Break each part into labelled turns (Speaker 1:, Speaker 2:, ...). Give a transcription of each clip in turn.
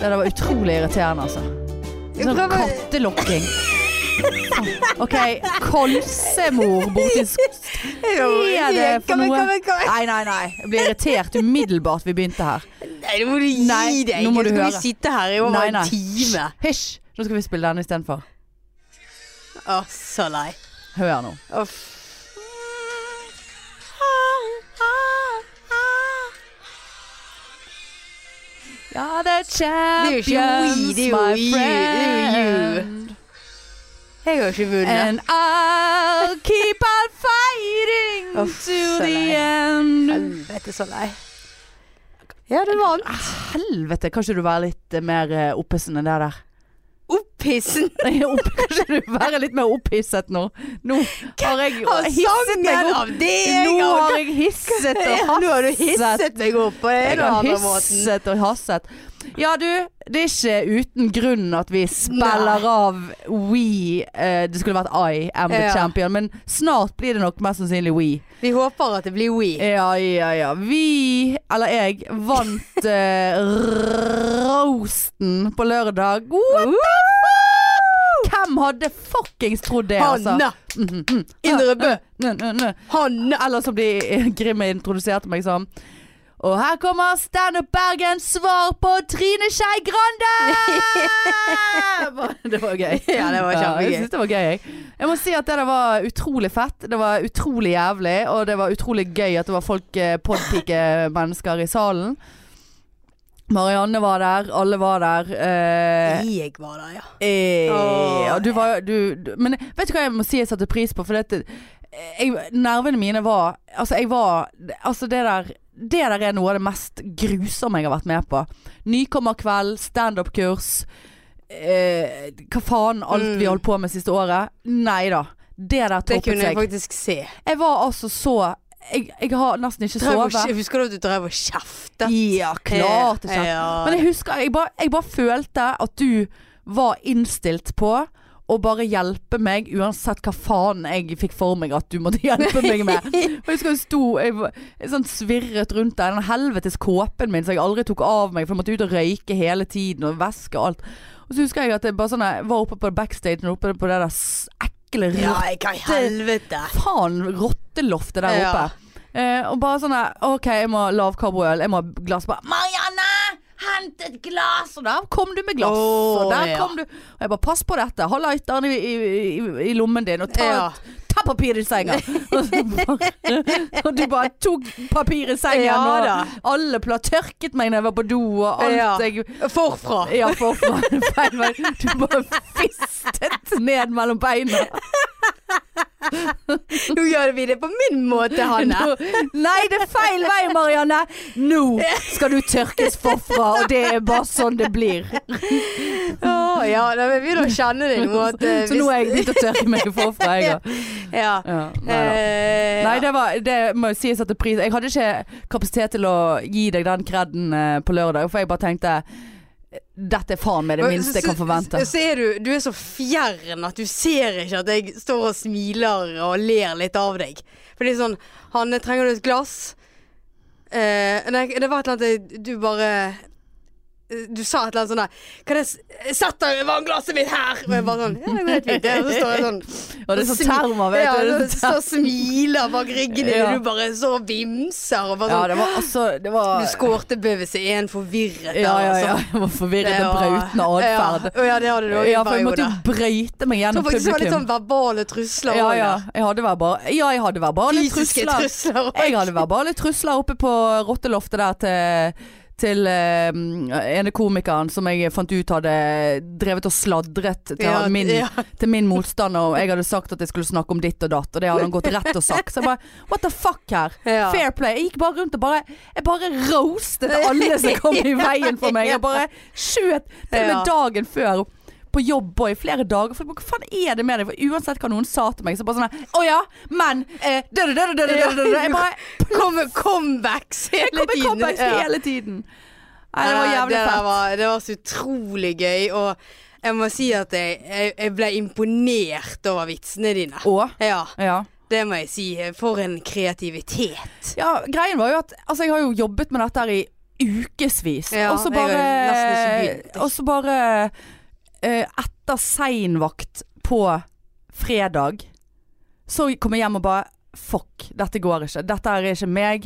Speaker 1: Ja, det var utrolig irriterende, altså. Sånn
Speaker 2: prøver-
Speaker 1: kattelokking. OK, kolsemor borti sk- Hva er det for
Speaker 2: Kom igjen,
Speaker 1: noe?
Speaker 2: kom igjen, kom igjen.
Speaker 1: Nei, nei, nei. Jeg ble irritert umiddelbart vi begynte her.
Speaker 2: Nei, nå må du gi
Speaker 1: Nei,
Speaker 2: deg.
Speaker 1: nå må du
Speaker 2: skal
Speaker 1: høre.
Speaker 2: vi sitte her i over
Speaker 1: Nei, nei.
Speaker 2: en time?
Speaker 1: Hysj! Nå skal vi spille denne istedenfor.
Speaker 2: Å, så lei.
Speaker 1: Hør nå.
Speaker 2: Uff.
Speaker 1: Ja, the
Speaker 2: jo ikke we,
Speaker 1: champions,
Speaker 2: det er jo
Speaker 1: my
Speaker 2: you, det er jo you.
Speaker 1: friend.
Speaker 2: Jeg har ikke vunnet.
Speaker 1: And I'll keep on fighting
Speaker 2: Uff,
Speaker 1: to
Speaker 2: så
Speaker 1: the
Speaker 2: lei.
Speaker 1: end.
Speaker 2: Helvete, så lei. Ja, du vant.
Speaker 1: Helvete, kan ikke du være litt eh, mer eh, opphissen enn det der?
Speaker 2: Oppissen.
Speaker 1: Nei, opp- Kan ikke du være litt mer opphisset nå? Nå har jeg
Speaker 2: Har
Speaker 1: hisset meg
Speaker 2: sangen
Speaker 1: opp.
Speaker 2: av deg.
Speaker 1: Nå
Speaker 2: og-
Speaker 1: har jeg hisset og
Speaker 2: Ja, Nå har du
Speaker 1: hasset.
Speaker 2: hisset meg opp på
Speaker 1: Jeg
Speaker 2: en eller
Speaker 1: har
Speaker 2: annen måte.
Speaker 1: hisset og hasset. Ja du, det er ikke uten grunn at vi spiller av We. eh, det skulle vært I am the
Speaker 2: Ja.
Speaker 1: champion, men snart blir det nok mest sannsynlig We.
Speaker 2: Vi håper at det blir we.
Speaker 1: Ja, ja, ja. Vi, eller jeg, vant eh, roasten på lørdag. What the fuck? Hvem hadde fuckings trodd det, altså?
Speaker 2: Hanna. Indre Bø.
Speaker 1: Nø, nø, nø.
Speaker 2: Hanna.
Speaker 1: Eller som de eh, grimme introduserte meg som. Og her kommer Standup Bergens svar på Trine Skei Grande! Det var gøy.
Speaker 2: Ja, det var kjempegøy.
Speaker 1: jeg synes det var gøy, jeg. Jeg må si at det der var utrolig fett. Det var utrolig jævlig, og det var utrolig gøy at det var folk, eh, podpike mennesker i salen. Marianne var der, alle var der. Eh,
Speaker 2: Jeg var der, ja.
Speaker 1: Eh,
Speaker 2: Åh.
Speaker 1: ja, du var, jo- du, du, men vet du hva jeg må si jeg satte pris på? For dette, eh, jeg, nervene mine var Altså, jeg var Altså, det der det der er noe av det mest grusomme jeg har vært med på. Nykommerkveld, standup-kurs. Eh, hva faen, alt vi
Speaker 2: Mm.
Speaker 1: holdt på med siste året. Nei da. Det der
Speaker 2: Det
Speaker 1: toppet
Speaker 2: kunne
Speaker 1: seg.
Speaker 2: jeg
Speaker 1: Jeg,
Speaker 2: faktisk se.
Speaker 1: var altså så Jeg, jeg har nesten ikke
Speaker 2: Drev og Eh,
Speaker 1: sovet.
Speaker 2: kje- Husker du at du drev og kjeftet?
Speaker 1: Ja, klart det skjer.
Speaker 2: Ja.
Speaker 1: Men jeg husker, jeg bare, jeg bare følte at du var innstilt på å bare hjelpe meg, uansett hva faen jeg fikk for meg at du måtte hjelpe meg med. Og jeg husker jeg sto jeg, var- jeg sånn svirret rundt der, den helvetes kåpen min som jeg aldri tok av meg, for jeg måtte ut og røyke hele tiden, og væske og alt. Og så husker jeg at jeg bare sånn, jeg var oppe på backstagen, oppe på det der s- ekle
Speaker 2: ja,
Speaker 1: rotte,
Speaker 2: jeg kan helvete.
Speaker 1: faen rotteloftet der
Speaker 2: Ja.
Speaker 1: oppe. Eh, og bare sånn der, OK, jeg må ha lav karboøl, jeg må ha glass. Bare, Marianne! Hent et glass! Og der kom du med glass. og
Speaker 2: Åh,
Speaker 1: der
Speaker 2: ja.
Speaker 1: kom du. Og jeg bare pass på dette. Ha lighteren i, i, i, i lommen din, og ta,
Speaker 2: Ja.
Speaker 1: ta papir i senga. og, så bare, og du bare tok papir i senga,
Speaker 2: Ja da.
Speaker 1: og alle pla tørket meg når jeg var på do, og alt
Speaker 2: Ja.
Speaker 1: jeg
Speaker 2: Forfra.
Speaker 1: ja, forfra feil vei. Du bare fistet ned mellom beina.
Speaker 2: Nå gjør vi det på min måte, Hanne.
Speaker 1: Nå- Nei, det er feil vei, Marianne. Nå skal du tørkes forfra, og det er bare sånn det blir.
Speaker 2: Å, ja, da vil vi da kjenne det nå at eh,
Speaker 1: Så nå har jeg begynt å tørke meg forfra, jeg òg.
Speaker 2: Ja.
Speaker 1: Ja, nei da.
Speaker 2: Eh,
Speaker 1: Nei, det, var, det må jeg si jeg satte pris Jeg hadde ikke kapasitet til å gi deg den kreden på lørdag, for jeg bare tenkte Dette er faen meg det minste jeg kan forvente.
Speaker 2: Så, så er du, du er så fjern at du ser ikke at jeg står og smiler og ler litt av deg. For det er sånn Hanne, trenger du et glass? Eh, nei, det var et eller annet jeg- du bare du sa et eller annet sånn der Kan jeg s- sette vannglasset mitt her? Og jeg bare sånn Ja, det går helt fint. det». Og så står jeg sånn
Speaker 1: Og det er sånn termer, vet
Speaker 2: ja,
Speaker 1: du. Det
Speaker 2: og
Speaker 1: er
Speaker 2: så
Speaker 1: sånn
Speaker 2: står og smiler bak ryggen din,
Speaker 1: Ja.
Speaker 2: og du bare så og vimser. Og
Speaker 1: termer.
Speaker 2: bare
Speaker 1: Ja, det
Speaker 2: sånn
Speaker 1: var altså Det var
Speaker 2: Du skårte bøvelse i en forvirret der,
Speaker 1: Ja, ja,
Speaker 2: altså.
Speaker 1: ja. Jeg var forvirret
Speaker 2: Det
Speaker 1: og
Speaker 2: var-
Speaker 1: brautende atferd.
Speaker 2: Ja. Å ja, det hadde du òg i
Speaker 1: Ja, for jeg måtte
Speaker 2: perioder.
Speaker 1: jo brøyte meg
Speaker 2: Jeg
Speaker 1: gjennom
Speaker 2: tror faktisk det var litt
Speaker 1: publikum.
Speaker 2: sånn verbale trusler.
Speaker 1: Ja,
Speaker 2: også
Speaker 1: ja.
Speaker 2: der.
Speaker 1: Jeg hadde verbale, ja, jeg hadde verbale
Speaker 2: Fysiske
Speaker 1: trusler.
Speaker 2: trusler. også.
Speaker 1: Jeg hadde verbale trusler oppe på rotteloftet der til til eh, ene komikeren som jeg fant ut hadde drevet og sladret til,
Speaker 2: Ja,
Speaker 1: min,
Speaker 2: ja.
Speaker 1: til min motstander. Og jeg hadde sagt at jeg skulle snakke om ditt og datt, og det hadde han gått rett og sagt. Så jeg bare what the fuck her?
Speaker 2: Ja.
Speaker 1: Fair play. Jeg gikk bare rundt og bare Jeg bare roastet alle som kom i veien for meg. Jeg bare skjøt til og
Speaker 2: Ja.
Speaker 1: med dagen før. På jobb og i flere dager. For hva faen er det med deg? For uansett hva noen sa til meg, så bare sånn her, Å ja, men eh, dø, dø, dø, dø, dø, dø, dø, dø. Jeg bare
Speaker 2: Kom med comebacks hele
Speaker 1: jeg kommer
Speaker 2: tiden.
Speaker 1: comebacks
Speaker 2: Ja.
Speaker 1: hele tiden. Nei, det var
Speaker 2: Nei,
Speaker 1: jævlig
Speaker 2: det der
Speaker 1: fett.
Speaker 2: Var, det var så utrolig gøy, og jeg må si at jeg, jeg, jeg ble imponert over vitsene dine.
Speaker 1: Og
Speaker 2: Ja,
Speaker 1: ja.
Speaker 2: det må jeg si. For en kreativitet.
Speaker 1: ja, greien var jo at altså, jeg har jo jobbet med dette her i ukevis.
Speaker 2: Ja,
Speaker 1: og så
Speaker 2: jeg har nesten
Speaker 1: bare
Speaker 2: ikke begynt. liksom.
Speaker 1: Og så bare eh, Etter seinvakt på fredag, så kom jeg hjem og bare Fuck, dette går ikke. Dette her er ikke meg.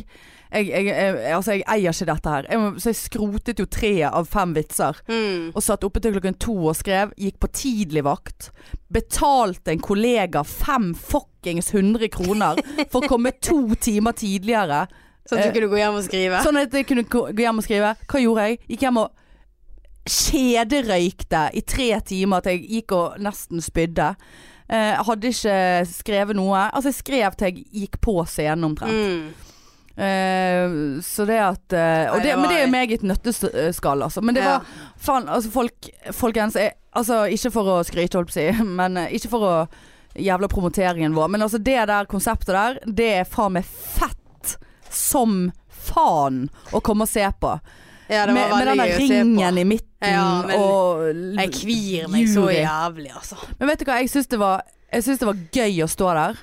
Speaker 1: Jeg, jeg, jeg, altså, jeg eier ikke dette her. Jeg, må- så jeg skrotet jo tre av fem vitser.
Speaker 2: Mm.
Speaker 1: Og satt oppe til klokken to og skrev. Gikk på tidligvakt. Betalte en kollega fem fuckings hundre kroner for å komme to timer tidligere.
Speaker 2: Sånn at
Speaker 1: Eh,
Speaker 2: du kunne gå hjem og skrive.
Speaker 1: Sånn at jeg kunne gå gå hjem og skrive. Hva gjorde jeg? Gikk hjem og kjederøykte i tre timer at jeg gikk og nesten spydde. Eh, hadde ikke skrevet noe. Altså, jeg skrev til jeg gikk på scenen omtrent.
Speaker 2: Mm.
Speaker 1: Eh, så det at eh, og
Speaker 2: Nei,
Speaker 1: det,
Speaker 2: det
Speaker 1: Men
Speaker 2: var-
Speaker 1: det er meg i et nøtteskall, altså. Men det
Speaker 2: Ja.
Speaker 1: var faen, altså folk Folkens, jeg, altså ikke for å skryte, holdt på å si, men eh, ikke for å jævla promoteringen vår, men altså det der konseptet der, det er faen meg fett som faen å komme og se på.
Speaker 2: Ja, det
Speaker 1: Med,
Speaker 2: var
Speaker 1: med den
Speaker 2: veldig
Speaker 1: der
Speaker 2: gøy å se på.
Speaker 1: ringen i midten
Speaker 2: Ja, men-
Speaker 1: og
Speaker 2: Jeg kvir meg så
Speaker 1: Jury.
Speaker 2: jævlig, altså.
Speaker 1: Men vet du hva, jeg syns det, var- jeg syns det var gøy å stå der.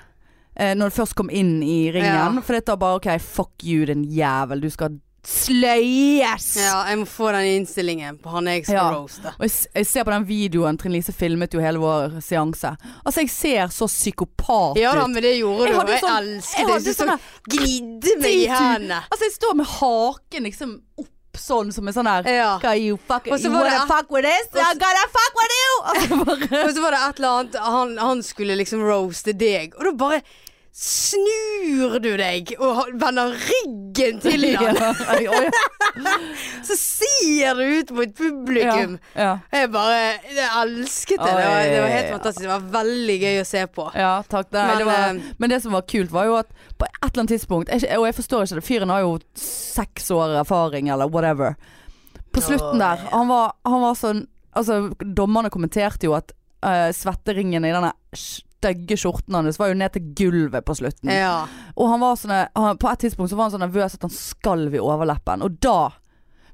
Speaker 1: Eh, når du først kom inn i ringen.
Speaker 2: Ja.
Speaker 1: For dette var bare OK, fuck you, din jævel. Du skal sløyes!
Speaker 2: Ja, jeg må få den innstillingen på han jeg skal
Speaker 1: Ja.
Speaker 2: roaste.
Speaker 1: Og jeg, s- jeg ser på den videoen Trine Lise filmet jo hele vår seanse. Altså, jeg ser så psykopat
Speaker 2: Ja da,
Speaker 1: ut.
Speaker 2: men det
Speaker 1: Jeg
Speaker 2: gjorde du, og
Speaker 1: hadde
Speaker 2: jeg
Speaker 1: sånn- jeg
Speaker 2: elsket det.
Speaker 1: hadde
Speaker 2: Jeg
Speaker 1: sånne-
Speaker 2: sånn, gnidde meg i
Speaker 1: Titu.
Speaker 2: hendene.
Speaker 1: Altså, jeg står med haken liksom opp sånn som en sånn her
Speaker 2: Ja.
Speaker 1: Skal you fuck,
Speaker 2: Og så
Speaker 1: you
Speaker 2: var det
Speaker 1: wanna
Speaker 2: at-
Speaker 1: fuck with this?
Speaker 2: så-
Speaker 1: I'm gonna fuck with you! Altså, bare,
Speaker 2: Og så var det et eller annet Han, han skulle liksom roaste deg, og da bare snur du deg og ha- vender ryggen til ham.
Speaker 1: ja, ja, ja.
Speaker 2: Så ser du ut mot publikum.
Speaker 1: Ja,
Speaker 2: Jeg bare jeg elsket det. Det var, det var helt fantastisk. Det var veldig gøy å se på.
Speaker 1: ja takk. Nei,
Speaker 2: Men,
Speaker 1: det var,
Speaker 2: eh,
Speaker 1: men det som var kult, var jo at på et eller annet tidspunkt jeg, Og jeg forstår ikke det, fyren har jo seks år erfaring, eller whatever. På slutten der, han var, han var sånn Altså, dommerne kommenterte jo at eh, svetteringen i denne stygge skjorten hans var jo ned til gulvet på slutten.
Speaker 2: Ja.
Speaker 1: Og han var sånn han, På et tidspunkt så var han så nervøs at han skalv i overleppen. Og da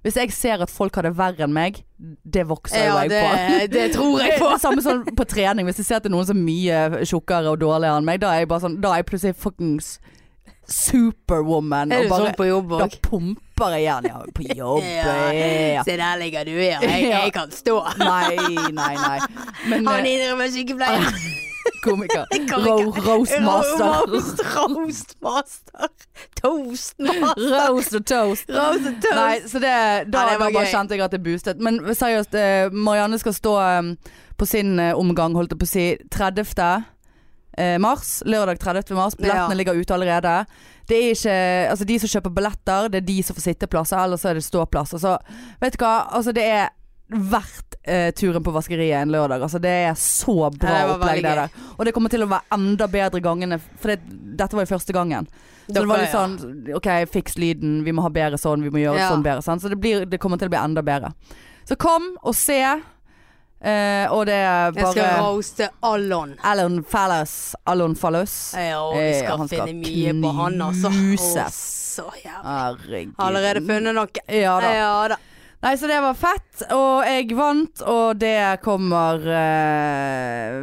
Speaker 1: Hvis jeg ser at folk har det verre enn meg, det vokser jo
Speaker 2: ja
Speaker 1: jeg
Speaker 2: det,
Speaker 1: på.
Speaker 2: det tror
Speaker 1: Det
Speaker 2: jeg
Speaker 1: er
Speaker 2: på.
Speaker 1: det samme sånn på trening. Hvis jeg ser at det er noen som er mye tjukkere og dårligere enn meg, da er jeg bare sånn Da er jeg plutselig fuckings superwoman.
Speaker 2: Er du
Speaker 1: Og bare,
Speaker 2: sånn på jobb
Speaker 1: da
Speaker 2: òg?
Speaker 1: pumper jeg igjen. Ja, på jobb. eh,
Speaker 2: Ja.
Speaker 1: ja.
Speaker 2: Se, der ligger du her. Jeg,
Speaker 1: Ja.
Speaker 2: jeg kan stå.
Speaker 1: Nei, nei, nei. Men
Speaker 2: Han
Speaker 1: eh,
Speaker 2: innrømmer sykepleier.
Speaker 1: komiker.
Speaker 2: kan
Speaker 1: Ro
Speaker 2: ikke-
Speaker 1: roastmaster.
Speaker 2: Roast- Roastmaster. Toastmaster.
Speaker 1: Roast og toast.
Speaker 2: Roast and toast.
Speaker 1: Nei, så det, da,
Speaker 2: Nei, det
Speaker 1: da
Speaker 2: var
Speaker 1: bare
Speaker 2: gøy.
Speaker 1: kjente jeg at det boostet. Men seriøst, eh, Marianne skal stå eh, på sin eh, omgang, holdt jeg på å si, 30. eh, Mars, lørdag 30. mars. Billettene
Speaker 2: Ja.
Speaker 1: ligger ute allerede. Det er ikke Altså, de som kjøper billetter, det er de som får sitteplasser, ellers så er det ståplasser. Så vet du hva, altså det er verdt eh, turen på vaskeriet en lørdag. Altså det er så bra
Speaker 2: Ja, det var veldig
Speaker 1: opplegg, det der. Og det kommer til å være enda bedre gangene, for det, dette var jo første gangen. Så det var litt sånn OK, fiks lyden, vi må ha bedre sånn, vi må gjøre
Speaker 2: Ja.
Speaker 1: sånn bedre. Sant? Så det, blir, det kommer til å bli enda bedre. Så kom og se. eh, og det er
Speaker 2: Jeg skal
Speaker 1: bare
Speaker 2: roaste Allon.
Speaker 1: Alan Fallas. Alan Fallus.
Speaker 2: Ja, og vi
Speaker 1: Eh,
Speaker 2: skal
Speaker 1: han skal
Speaker 2: finne mye på han, altså. Å,
Speaker 1: knuses.
Speaker 2: så
Speaker 1: Herregud.
Speaker 2: jævlig. Allerede funnet noe.
Speaker 1: Ja da.
Speaker 2: Ja da.
Speaker 1: Nei, så det var fett. Og jeg vant, og det kommer eh,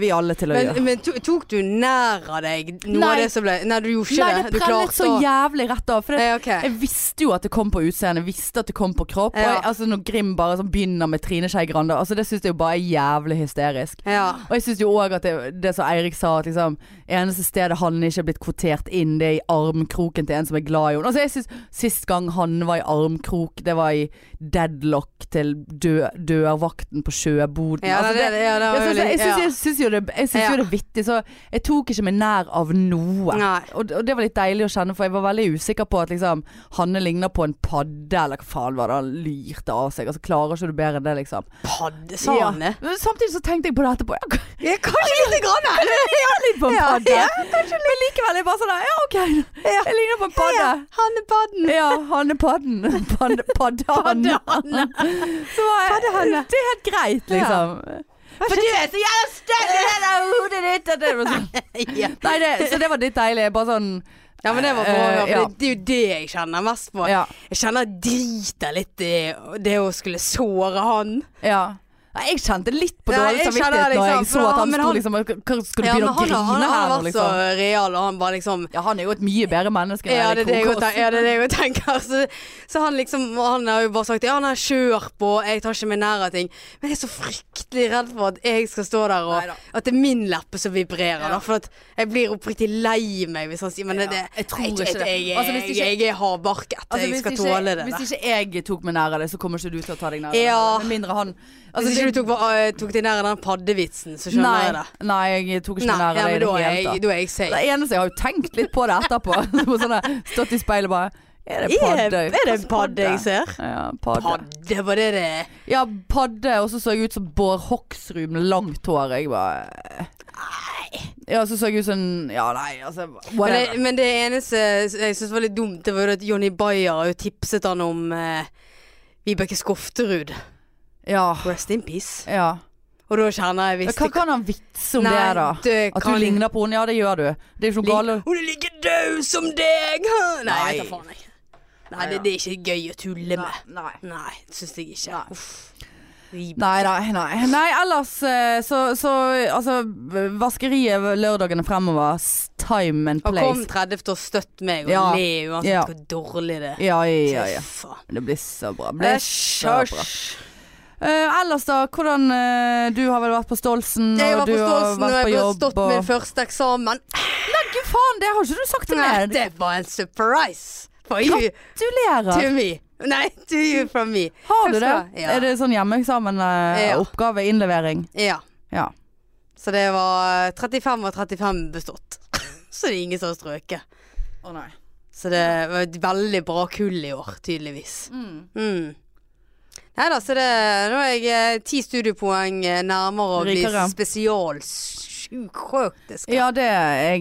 Speaker 1: vi alle til å gjøre.
Speaker 2: Men, men to- tok du nær av deg noe
Speaker 1: Nei.
Speaker 2: av det som ble Nei, du gjorde ikke
Speaker 1: Nei,
Speaker 2: det.
Speaker 1: det
Speaker 2: Du
Speaker 1: prellet
Speaker 2: klarte
Speaker 1: så jævlig rett av. For det,
Speaker 2: Ja, ok.
Speaker 1: Jeg visste jo at det kom på utseende, visste at det kom på kropp. Og
Speaker 2: Ja.
Speaker 1: jeg, altså Når Grim bare sånn begynner med Trine Skei Grande, altså det syns jeg jo bare er jævlig hysterisk.
Speaker 2: Ja.
Speaker 1: Og jeg syns jo òg at det, det som Eirik sa, at liksom eneste stedet Hanne ikke er blitt kvotert inn, det er i armkroken til en som er glad i henne. Altså jeg synes, Sist gang Hanne var i armkrok, det var i deadlock til dø, dørvakten på sjøboden.
Speaker 2: Ja,
Speaker 1: altså,
Speaker 2: det, det, ja, det var
Speaker 1: jeg syns-
Speaker 2: veldig-
Speaker 1: jeg syns-
Speaker 2: ja.
Speaker 1: jeg syns jo det, jeg syns
Speaker 2: Ja.
Speaker 1: jo det er vittig, så jeg tok ikke meg nær av noe.
Speaker 2: Nei.
Speaker 1: Og, og det var litt deilig å kjenne, for jeg var veldig usikker på at liksom Hanne ligner på en padde, eller hva faen var det han lyrte av seg. Altså Klarer ikke du bedre enn det, liksom.
Speaker 2: Padde, sa han det?
Speaker 1: Men samtidig så tenkte jeg på det etterpå. Ja,
Speaker 2: Ja, kanskje lite grann.
Speaker 1: jeg ligner på en
Speaker 2: Ja,
Speaker 1: padde.
Speaker 2: ja,
Speaker 1: Men likevel, jeg bare sånn Ja, OK. Jeg ligner på en padde.
Speaker 2: Han er padden.
Speaker 1: Ja, Hannepadden. Padde, paddehanne.
Speaker 2: Paddehanne.
Speaker 1: Så var jeg-
Speaker 2: Paddehanne.
Speaker 1: Det er helt greit, liksom.
Speaker 2: For du er så jævla stygg!
Speaker 1: hodet ditt
Speaker 2: sånn. Ja.
Speaker 1: Nei, det, så det var litt deilig. Bare sånn
Speaker 2: Ja, men det var bra. å høre,
Speaker 1: Eh, ja.
Speaker 2: for det, det er jo det jeg kjenner mest på.
Speaker 1: Ja.
Speaker 2: Jeg kjenner driter litt i det å skulle såre han.
Speaker 1: Ja. Nei, Jeg kjente litt på
Speaker 2: Nei,
Speaker 1: dårlig
Speaker 2: jeg kjenner
Speaker 1: samvittighet
Speaker 2: det,
Speaker 1: når
Speaker 2: ikke
Speaker 1: jeg
Speaker 2: sant,
Speaker 1: så
Speaker 2: for
Speaker 1: at
Speaker 2: han-
Speaker 1: han
Speaker 2: men
Speaker 1: sto
Speaker 2: han-
Speaker 1: liksom Skal skal du
Speaker 2: Ja, men
Speaker 1: begynne å
Speaker 2: han,
Speaker 1: grine
Speaker 2: han,
Speaker 1: her
Speaker 2: han
Speaker 1: nå,
Speaker 2: var så
Speaker 1: liksom?
Speaker 2: real, og han var liksom
Speaker 1: Ja, han er jo et mye bedre menneske enn
Speaker 2: ja,
Speaker 1: Eirik
Speaker 2: det er det jeg
Speaker 1: Krokås.
Speaker 2: godt tenker. Ja, det er det jeg godt tenker. Så, så han liksom og Han har jo bare sagt ja, nei, kjør på, jeg tar ikke meg nær av ting. Men jeg er så fryktelig redd for at jeg skal stå der og
Speaker 1: Neida.
Speaker 2: at det er min leppe som vibrerer.
Speaker 1: Ja.
Speaker 2: Da, for at jeg blir oppriktig lei meg hvis han sier Men
Speaker 1: Ja,
Speaker 2: det,
Speaker 1: jeg tror
Speaker 2: jeg,
Speaker 1: ikke det.
Speaker 2: Jeg, jeg,
Speaker 1: Altså, hvis ikke-
Speaker 2: jeg, er hardbarket.
Speaker 1: Altså,
Speaker 2: jeg
Speaker 1: hvis
Speaker 2: skal
Speaker 1: ikke-
Speaker 2: tåle det. der.
Speaker 1: Hvis ikke jeg tok meg nær av det, så kommer ikke du til å ta deg nær av
Speaker 2: Ja.
Speaker 1: det. Med mindre han altså,
Speaker 2: hvis ikke
Speaker 1: det-
Speaker 2: du tok, uh, tok deg nær av den paddevitsen, så skjønner
Speaker 1: nei,
Speaker 2: jeg det.
Speaker 1: nei, jeg tok ikke
Speaker 2: Nei,
Speaker 1: meg nær av
Speaker 2: ja,
Speaker 1: det i
Speaker 2: men
Speaker 1: det
Speaker 2: da er
Speaker 1: hele
Speaker 2: jeg,
Speaker 1: tatt.
Speaker 2: da er jeg safe.
Speaker 1: Det eneste jeg har jo tenkt litt på det etterpå. På sånne, stått i speilet bare Er det
Speaker 2: Er,
Speaker 1: padde?
Speaker 2: er det en
Speaker 1: Hva slags
Speaker 2: padde jeg ser?
Speaker 1: Ja, padde.
Speaker 2: Padde, var det det?
Speaker 1: Ja, padde, og så så jeg ut som Bård Hoksrud med langt hår. Jeg bare Nei. Ja, så så jeg ut som Ja, nei, altså
Speaker 2: Men
Speaker 1: Whatever.
Speaker 2: det, men det eneste jeg syns var litt dumt, det var jo at Jonny Bayer har jo tipset han om eh, Vibeke Skofterud.
Speaker 1: Ja.
Speaker 2: Rest in peace.
Speaker 1: ja.
Speaker 2: Og da kjenner jeg visst
Speaker 1: Hva kan han vitse om det, da? At du ligner på henne? Ja, det gjør du. Det er jo ikke noe galt.
Speaker 2: Hun er like død som deg! hæ? Nei, jeg vet da
Speaker 1: Nei.
Speaker 2: faen. Jeg. Nei, det, det er ikke gøy å tulle med.
Speaker 1: Nei.
Speaker 2: Nei, det syns jeg ikke. Uff. Vibeke.
Speaker 1: Nei, nei, nei. nei ellers eh, så, så altså Vaskeriet lørdagene fremover. s- Time and
Speaker 2: Og kom
Speaker 1: place.
Speaker 2: 30. og støtt meg, og
Speaker 1: Ja.
Speaker 2: le uansett
Speaker 1: Ja.
Speaker 2: hvor dårlig det er.
Speaker 1: Ja, ja, ja.
Speaker 2: Faen.
Speaker 1: Det blir så bra. Det Blir
Speaker 2: Æsj,
Speaker 1: så bra.
Speaker 2: æsj.
Speaker 1: Eh, ellers da, hvordan eh, Du har vel vært på Stolsen,
Speaker 2: Jeg var
Speaker 1: og du
Speaker 2: på
Speaker 1: har
Speaker 2: Stolsen,
Speaker 1: vært
Speaker 2: og jeg
Speaker 1: på
Speaker 2: ble
Speaker 1: jobb
Speaker 2: stått
Speaker 1: og
Speaker 2: min første eksamen.
Speaker 1: Gud faen, Sånn det har ikke du sagt til
Speaker 2: Nei,
Speaker 1: meg!
Speaker 2: det var en surprise. For you
Speaker 1: Gratulerer!
Speaker 2: to me. Nei, to you from me.
Speaker 1: Har du det?
Speaker 2: Husker jeg. Ja.
Speaker 1: Er det sånn hjemmeeksamen-oppgave?
Speaker 2: Ja.
Speaker 1: oppgave innlevering?
Speaker 2: Ja.
Speaker 1: Ja.
Speaker 2: Så det var 35 og 35 bestått. Så det er ingen som har strøket.
Speaker 1: Å nei.
Speaker 2: Så det var et veldig bra kull i år, tydeligvis.
Speaker 1: Mm.
Speaker 2: Mm. Nei da, så det Nå er jeg eh, ti studiepoeng eh, nærmere å bli
Speaker 1: Rikere.
Speaker 2: spesialsjuksjøktisk.
Speaker 1: Ja, det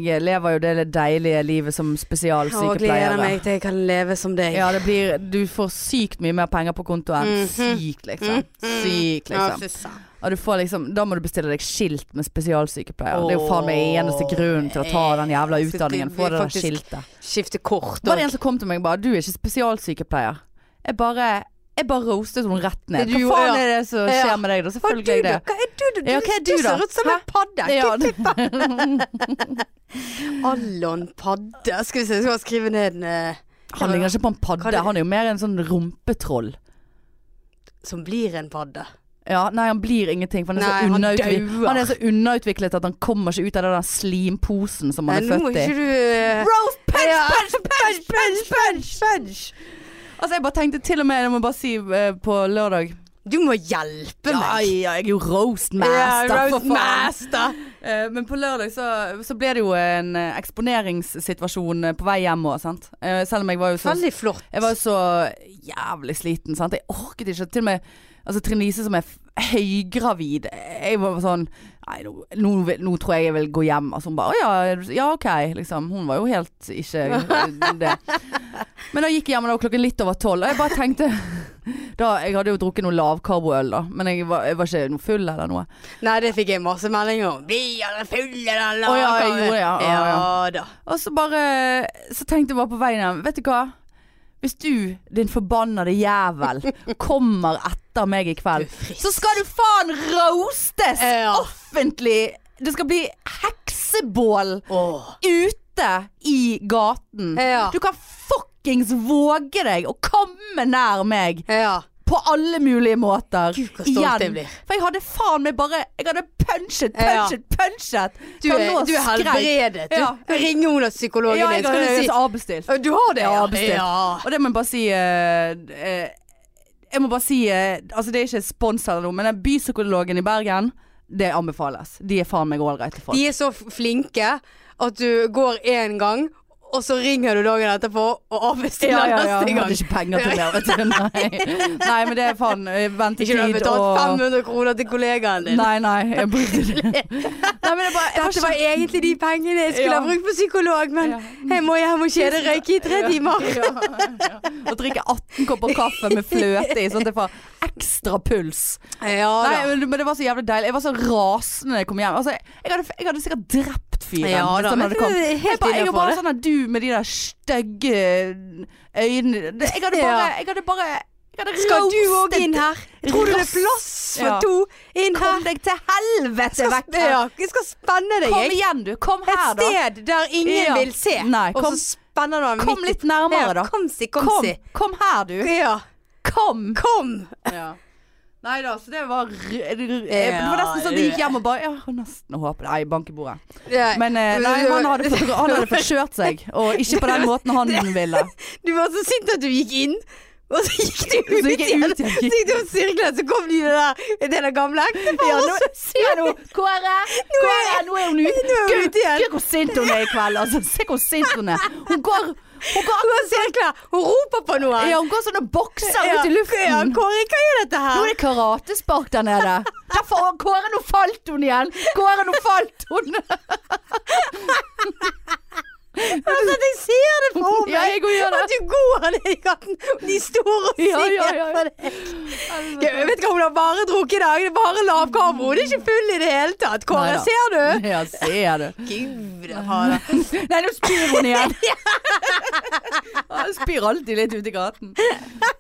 Speaker 1: Jeg lever jo det deilige livet som
Speaker 2: Og
Speaker 1: spesialsykepleier.
Speaker 2: gleder meg til jeg kan leve som deg.
Speaker 1: Ja, det blir Du får sykt mye mer penger på konto enn
Speaker 2: Mhm.
Speaker 1: sykt, liksom.
Speaker 2: Mhm.
Speaker 1: Sykt,
Speaker 2: Ja,
Speaker 1: liksom.
Speaker 2: fy faen.
Speaker 1: Og du får liksom Da må du bestille deg skilt med spesialsykepleier. Det er jo
Speaker 2: Åh,
Speaker 1: faen meg eneste grunnen til å ta den jævla
Speaker 2: eh, så
Speaker 1: utdanningen.
Speaker 2: det
Speaker 1: Få
Speaker 2: blir
Speaker 1: det der
Speaker 2: faktisk-
Speaker 1: skiltet.
Speaker 2: Skifte kort
Speaker 1: Det var det
Speaker 2: og
Speaker 1: en som kom til meg og bare 'Du er ikke spesialsykepleier'. Jeg bare Jeg bare roastet henne rett ned.
Speaker 2: Det er du,
Speaker 1: Hva faen
Speaker 2: ja.
Speaker 1: er det som
Speaker 2: Ja.
Speaker 1: skjer med deg, da?
Speaker 2: Hva er
Speaker 1: Selvfølgelig
Speaker 2: du,
Speaker 1: er jeg
Speaker 2: da?
Speaker 1: det.
Speaker 2: Hva er du, da? Du,
Speaker 1: Ja, hva er
Speaker 2: du,
Speaker 1: du, da?
Speaker 2: ser ut som en padde.
Speaker 1: Ja, det-
Speaker 2: Allon padde. Skal vi se, jeg skal bare skrive ned en eh,
Speaker 1: han ligner ikke på en
Speaker 2: Hva er
Speaker 1: padde.
Speaker 2: det?
Speaker 1: Han er jo mer en sånn rumpetroll.
Speaker 2: som blir en padde.
Speaker 1: Ja, nei, han blir ingenting. For han er,
Speaker 2: Nei,
Speaker 1: så,
Speaker 2: han
Speaker 1: unnautviklet. han
Speaker 2: dauer.
Speaker 1: er så unnautviklet at han kommer ikke ut av den der slimposen som han
Speaker 2: Nei,
Speaker 1: er
Speaker 2: nå må
Speaker 1: født i.
Speaker 2: ikke du eh,
Speaker 1: Rose punch,
Speaker 2: Ja.
Speaker 1: punch, punch, punch, punch, punch. Altså, jeg bare tenkte til og med, jeg må bare si eh, på lørdag
Speaker 2: Du må hjelpe
Speaker 1: Ja,
Speaker 2: meg.
Speaker 1: ja, jeg er jo roast
Speaker 2: Ja,
Speaker 1: master, for faen.
Speaker 2: Roastmaster.
Speaker 1: Eh, men på lørdag så, så ble det jo en eh, eksponeringssituasjon eh, på vei hjem òg, sant. Eh, selv om jeg var jo så
Speaker 2: Veldig flott.
Speaker 1: jeg var jo så jævlig sliten, sant. Jeg orket ikke. Til og med altså, Trine Lise som er f- høygravid. Jeg var sånn Nei, nå, nå, vil- nå tror jeg jeg vil gå hjem. Altså hun bare Å ja, er du- ja OK. Liksom. Hun var jo helt ikke eh, det. Men da gikk jeg hjem og det var klokken litt over tolv. Og jeg bare tenkte da, Jeg hadde jo drukket noe lavkarboøl, da. Men jeg var, jeg var ikke noe full eller noe.
Speaker 2: Nei, det fikk jeg masse meldinger om. Vi er fulle, eller
Speaker 1: Å, ja, jeg gjorde det, ja. Ja, ja.
Speaker 2: Ja da.
Speaker 1: Og så bare Så tenkte jeg bare på veien hjem Vet du hva? Hvis du, din forbannede jævel Kommer etter meg i kveld
Speaker 2: Du frist.
Speaker 1: Så skal du faen roastes
Speaker 2: Ja.
Speaker 1: Offentlig Det skal bli heksebål
Speaker 2: Åh.
Speaker 1: Ute i gaten
Speaker 2: Ja.
Speaker 1: Du kan fuckings våge deg Å komme nær meg
Speaker 2: Ja.
Speaker 1: På alle mulige måter
Speaker 2: Gud, hvor stolt jeg
Speaker 1: Igjen.
Speaker 2: blir.
Speaker 1: For jeg hadde faen meg bare Jeg hadde punchet,
Speaker 2: Ja.
Speaker 1: punchet, punchet
Speaker 2: Du
Speaker 1: Så
Speaker 2: er,
Speaker 1: nå
Speaker 2: du er
Speaker 1: skrek-
Speaker 2: helbredet. Du
Speaker 1: Ja.
Speaker 2: ringer hun og psykologen
Speaker 1: Ja,
Speaker 2: din.
Speaker 1: jeg
Speaker 2: Skal
Speaker 1: hadde
Speaker 2: du si
Speaker 1: avbestilt
Speaker 2: Å, Du har det
Speaker 1: Ja,
Speaker 2: avbestilt? Ja.
Speaker 1: Og det må jeg bare si eh, eh, Jeg må bare si eh, Altså det er ikke spons eller noe Men den bypsykologen i Bergen Det anbefales De er faen meg all right til folk
Speaker 2: De er så f- flinke at du går én gang, og så ringer du dagen etterpå og avbestiller neste
Speaker 1: Jeg
Speaker 2: gang.
Speaker 1: hadde ikke penger til det vet du. Nei. nei, men det er faen eh,
Speaker 2: Ikke du har
Speaker 1: Ventetid
Speaker 2: betalt
Speaker 1: og
Speaker 2: 500 kroner til kollegaen din.
Speaker 1: Nei, nei Jeg brukte det Nei, men det er bare jeg
Speaker 2: Dette var
Speaker 1: ikke-
Speaker 2: egentlig de pengene jeg skulle
Speaker 1: Ja.
Speaker 2: ha brukt på psykolog, men
Speaker 1: Ja.
Speaker 2: jeg må hjem og kjede røyke i tre timer.
Speaker 1: ja, ja. Og drikke 18 kopper kaffe med fløte i Sånn at jeg får ekstra puls
Speaker 2: Ja da.
Speaker 1: Nei, men, men det var så jævlig deilig. Jeg var så rasende da jeg kom hjem. Altså, jeg, jeg, hadde, jeg hadde sikkert drept fyren
Speaker 2: Ja
Speaker 1: hvis
Speaker 2: da,
Speaker 1: han
Speaker 2: men
Speaker 1: hadde kommet.
Speaker 2: det er helt
Speaker 1: Jeg, bare, jeg var
Speaker 2: innenfor
Speaker 1: bare
Speaker 2: det.
Speaker 1: sånn at du med de der stygge øynene det- Jeg hadde bare,
Speaker 2: Ja.
Speaker 1: jeg hadde bare Jeg hadde
Speaker 2: Skal du òg
Speaker 1: roastet
Speaker 2: inn her? Tror du det er
Speaker 1: Roast.
Speaker 2: plass for
Speaker 1: Ja.
Speaker 2: to inn her?
Speaker 1: Kom deg til helvete
Speaker 2: Skal,
Speaker 1: vekk her.
Speaker 2: ja, jeg skal spenne deg,
Speaker 1: Kom
Speaker 2: jeg.
Speaker 1: igjen, du. Kom
Speaker 2: Et
Speaker 1: her, da.
Speaker 2: sted der ingen
Speaker 1: Ja.
Speaker 2: vil se.
Speaker 1: Nei,
Speaker 2: Og
Speaker 1: kom-
Speaker 2: så spenner du ham
Speaker 1: Kom litt nærmere, da.
Speaker 2: Kom si, kom
Speaker 1: Kom,
Speaker 2: si.
Speaker 1: kom her, du.
Speaker 2: Ja.
Speaker 1: Kom.
Speaker 2: Kom!
Speaker 1: Ja. Nei da, så det var r- r- eh, Det var nesten sånn at jeg gikk hjem og bare Ja, nesten håper Nei, bank i bordet.
Speaker 2: Ja.
Speaker 1: Men eh, nei, han hadde, fått, han hadde fått kjørt seg, og ikke på den måten han ville.
Speaker 2: Du var så sint at du gikk inn, og så gikk du ut
Speaker 1: Så gikk jeg
Speaker 2: igjen.
Speaker 1: ut igjen.
Speaker 2: Så gikk du og sirklet, så kom de der, det der gamle
Speaker 1: Ja,
Speaker 2: ekteparet.
Speaker 1: nå sier du Kåre, Kåre, nå er hun ute.
Speaker 2: Nå er hun ute igjen.
Speaker 1: Se hvor sint hun er i kveld. Altså, se hvor sint hun er. Hun går, hun går,
Speaker 2: Hun sirkler, hun roper på noen.
Speaker 1: ja, hun går sånn og bokser ut i
Speaker 2: Ja,
Speaker 1: luften.
Speaker 2: Kåre, hva er dette
Speaker 1: Nå
Speaker 2: her?
Speaker 1: er det karatespark der nede. Der faen, Kåre, nå falt hun igjen. Kåre, nå falt hun.
Speaker 2: Altså, jeg ser det for meg.
Speaker 1: Ja, jeg går og gjør det.
Speaker 2: At du går ned i gaten, og de står og
Speaker 1: Ja,
Speaker 2: sier
Speaker 1: ja, ja.
Speaker 2: på deg. Jeg vet ikke om hun har bare drukket i dag, det er bare lav kamera. Hun er ikke full i det hele tatt. Kåre,
Speaker 1: Neida.
Speaker 2: ser du?
Speaker 1: Ja, ser du.
Speaker 2: Gud, fader.
Speaker 1: Nei, nå spyr hun igjen. Han spyr alltid litt ute i gaten.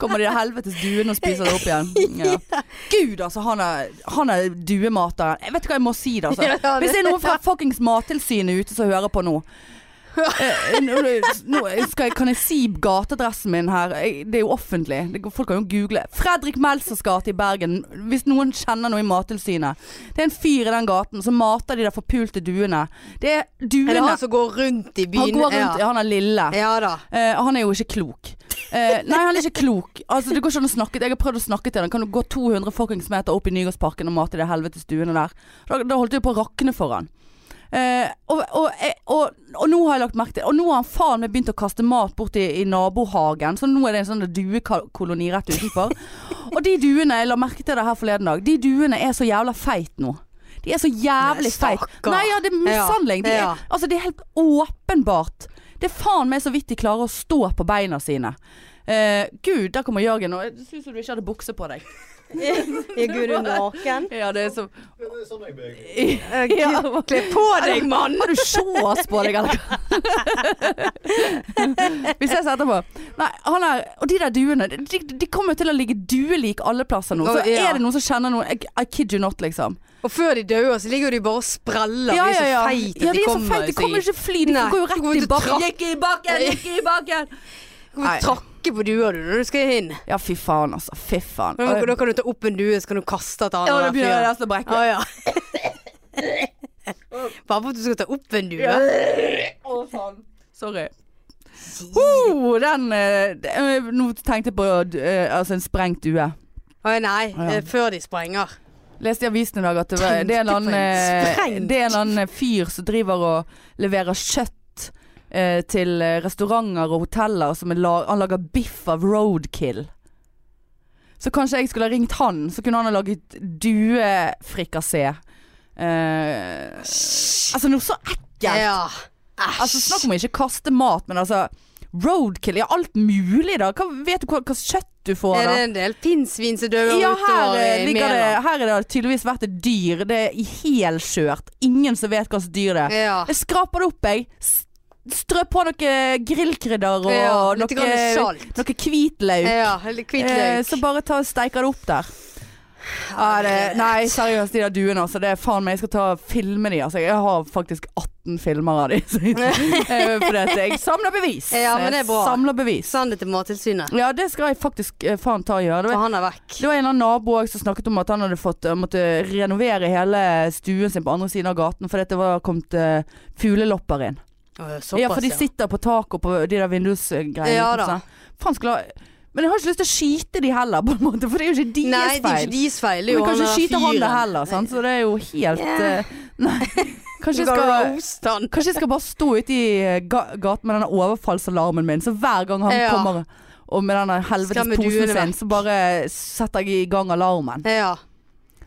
Speaker 1: Kommer de der helvetes duene og spiser det opp igjen. Ja. Gud, altså. Han er, han er duemateren. Jeg vet ikke hva jeg må si, da.
Speaker 2: Ja,
Speaker 1: Altså.
Speaker 2: det-
Speaker 1: Hvis det er noen fra fuckings Mattilsynet ute som hører på nå. Eh, nå nå skal jeg, kan jeg si gateadressen min her? Jeg, det er jo offentlig. Det, går- folk kan jo google. Fredrik Melsers gate i Bergen. Hvis noen kjenner noe i Mattilsynet. Det er en fyr i den gaten som mater de der forpulte duene. Det er duene
Speaker 2: Eller han som går rundt i byen.
Speaker 1: han går rundt, ja. han er lille.
Speaker 2: Ja da.
Speaker 1: Eh, han er jo ikke klok. Eh, nei, han er ikke klok. Altså, det går ikke an å snakke Jeg har prøvd å snakke til han. Kan du gå 200 fuckings meter opp i Nygårdsparken og mate de helvetes duene der? Da, da holdt jeg på å rakne for han. Eh, og, og, eh, og, og nå har jeg lagt merke til Og nå har han faen meg begynt å kaste mat bort i, i nabohagen. Så nå er det en sånn duekoloni rett utenfor. og de duene, jeg la merke til det her forleden dag, de duene er så jævla feit nå. De er så jævlig
Speaker 2: Nei,
Speaker 1: feit.
Speaker 2: stakkar.
Speaker 1: Nei, ja, det er mishandling. De
Speaker 2: Ja.
Speaker 1: er, altså, det er helt åpenbart. Det er faen meg så vidt de klarer å stå på beina sine. Eh, Gud, der kommer Jørgen, og det ser ut som du ikke hadde bukse på deg.
Speaker 2: Er Gud er naken?
Speaker 1: Ja, det er så
Speaker 3: Det er sånn jeg blir.
Speaker 1: Ja.
Speaker 2: Kle på deg, mann!
Speaker 1: Har du shorts på deg, eller? Vi ses etterpå. Nei, han er, og de der duene, de, de kommer jo til å ligge duelik alle plasser nå. Så
Speaker 2: Å, ja.
Speaker 1: er det noen som kjenner noen I, I kid you not, liksom.
Speaker 2: Og før de dør, så ligger de bare og spreller.
Speaker 1: Ja, ja, ja.
Speaker 2: De er
Speaker 1: ja, de
Speaker 2: så feite at de
Speaker 1: er så
Speaker 2: kommer
Speaker 1: feite. De
Speaker 2: seg-
Speaker 1: kommer ikke fly. De
Speaker 2: Nei,
Speaker 1: går jo
Speaker 2: de
Speaker 1: rett i
Speaker 2: kommer til å
Speaker 1: bakken.
Speaker 2: trakke.
Speaker 1: Gikk i bakken, gikk i bakken.
Speaker 2: Du kan trakke på duer du, når du skal inn.
Speaker 1: Ja, fy faen, altså. Fy faen.
Speaker 2: Da, da kan du ta opp en due, så kan du kaste et
Speaker 1: Ja,
Speaker 2: annet.
Speaker 1: det begynner jeg nesten å brekke.
Speaker 2: Å ja. Bare for at du skal ta opp en due.
Speaker 1: Å, faen. Sorry. Oh, den eh, det- eh, Nå tenkte jeg på eh, altså en sprengt due.
Speaker 2: Å nei,
Speaker 1: Å, ja.
Speaker 2: eh, før de sprenger.
Speaker 1: Leste i avisen i dag at det, var,
Speaker 2: Tenkte
Speaker 1: det, er en eller annen,
Speaker 2: på en
Speaker 1: eh,
Speaker 2: sprengt.
Speaker 1: det er en eller annen fyr som driver og leverer kjøtt eh, til eh, restauranter og hoteller. Som er la, han lager biff av roadkill. Så kanskje jeg skulle ha ringt han, så kunne han ha laget duefrikassé. Eh, altså noe så ekkelt.
Speaker 2: Ja. Ah.
Speaker 1: Altså Snakk om å ikke kaste mat, men altså Roadkill, ja alt mulig da. Hva, vet du hva, hva slags kjøtt du får
Speaker 2: Er
Speaker 1: da?
Speaker 2: det en del pinnsvin som dør
Speaker 1: Ja, her,
Speaker 2: utover
Speaker 1: eh,
Speaker 2: i
Speaker 1: ligger det,
Speaker 2: Mæland?
Speaker 1: her er det tydeligvis vært et dyr. Det er i helskjørt. Ingen som vet hva slags dyr det er.
Speaker 2: Ja.
Speaker 1: Jeg skraper det opp, jeg. S- Strø på noe eh, grillkrydder og
Speaker 2: Ja, litt
Speaker 1: noe,
Speaker 2: grann salt.
Speaker 1: noe hvitløk.
Speaker 2: Ja, eller
Speaker 1: Eh,
Speaker 2: hvitløk.
Speaker 1: så bare ta og steiker det opp der. Ja, det, nei, seriøst, de der duene, altså. Det er faen meg, jeg skal ta og filme de. Altså. Jeg har faktisk 18 filmer av de. så- Eh, Fordi at jeg samler bevis.
Speaker 2: Ja, men det er bra.
Speaker 1: Jeg Samler bevis.
Speaker 2: Send det til Mattilsynet,
Speaker 1: Ja, det skal jeg faktisk eh, faen ta og gjøre. Det
Speaker 2: for
Speaker 1: var,
Speaker 2: han er vekk.
Speaker 1: det var en eller annen nabo også som snakket om at han hadde fått eh, måtte renovere hele stuen sin på andre siden av gaten fordi at det var kommet eh, fuglelopper inn.
Speaker 2: Å,
Speaker 1: ja, for de
Speaker 2: Såpass, ja.
Speaker 1: sitter på taket og på de der vindusgreiene.
Speaker 2: Ja da.
Speaker 1: sant? Faen skulle ha Men jeg har ikke lyst til å skyte de heller, på en måte, for det er jo ikke deres
Speaker 2: Nei, det er
Speaker 1: feil.
Speaker 2: ikke deres feil.
Speaker 1: Men
Speaker 2: Det er jo han
Speaker 1: kanskje
Speaker 2: der
Speaker 1: skyter han det
Speaker 2: fyren.
Speaker 1: heller, sant? så det er jo helt
Speaker 2: Ja.
Speaker 1: eh, Nei. Kanskje
Speaker 2: Du
Speaker 1: jeg
Speaker 2: kan
Speaker 1: skal
Speaker 2: roaste han.
Speaker 1: Kanskje jeg skal bare stå ute i eh, ga gaten med denne overfallsalarmen min, så hver gang han
Speaker 2: Ja.
Speaker 1: kommer og med denne helvetes
Speaker 2: Skremmer
Speaker 1: posen
Speaker 2: duene
Speaker 1: sin, så bare setter jeg i gang alarmen.
Speaker 2: Ja.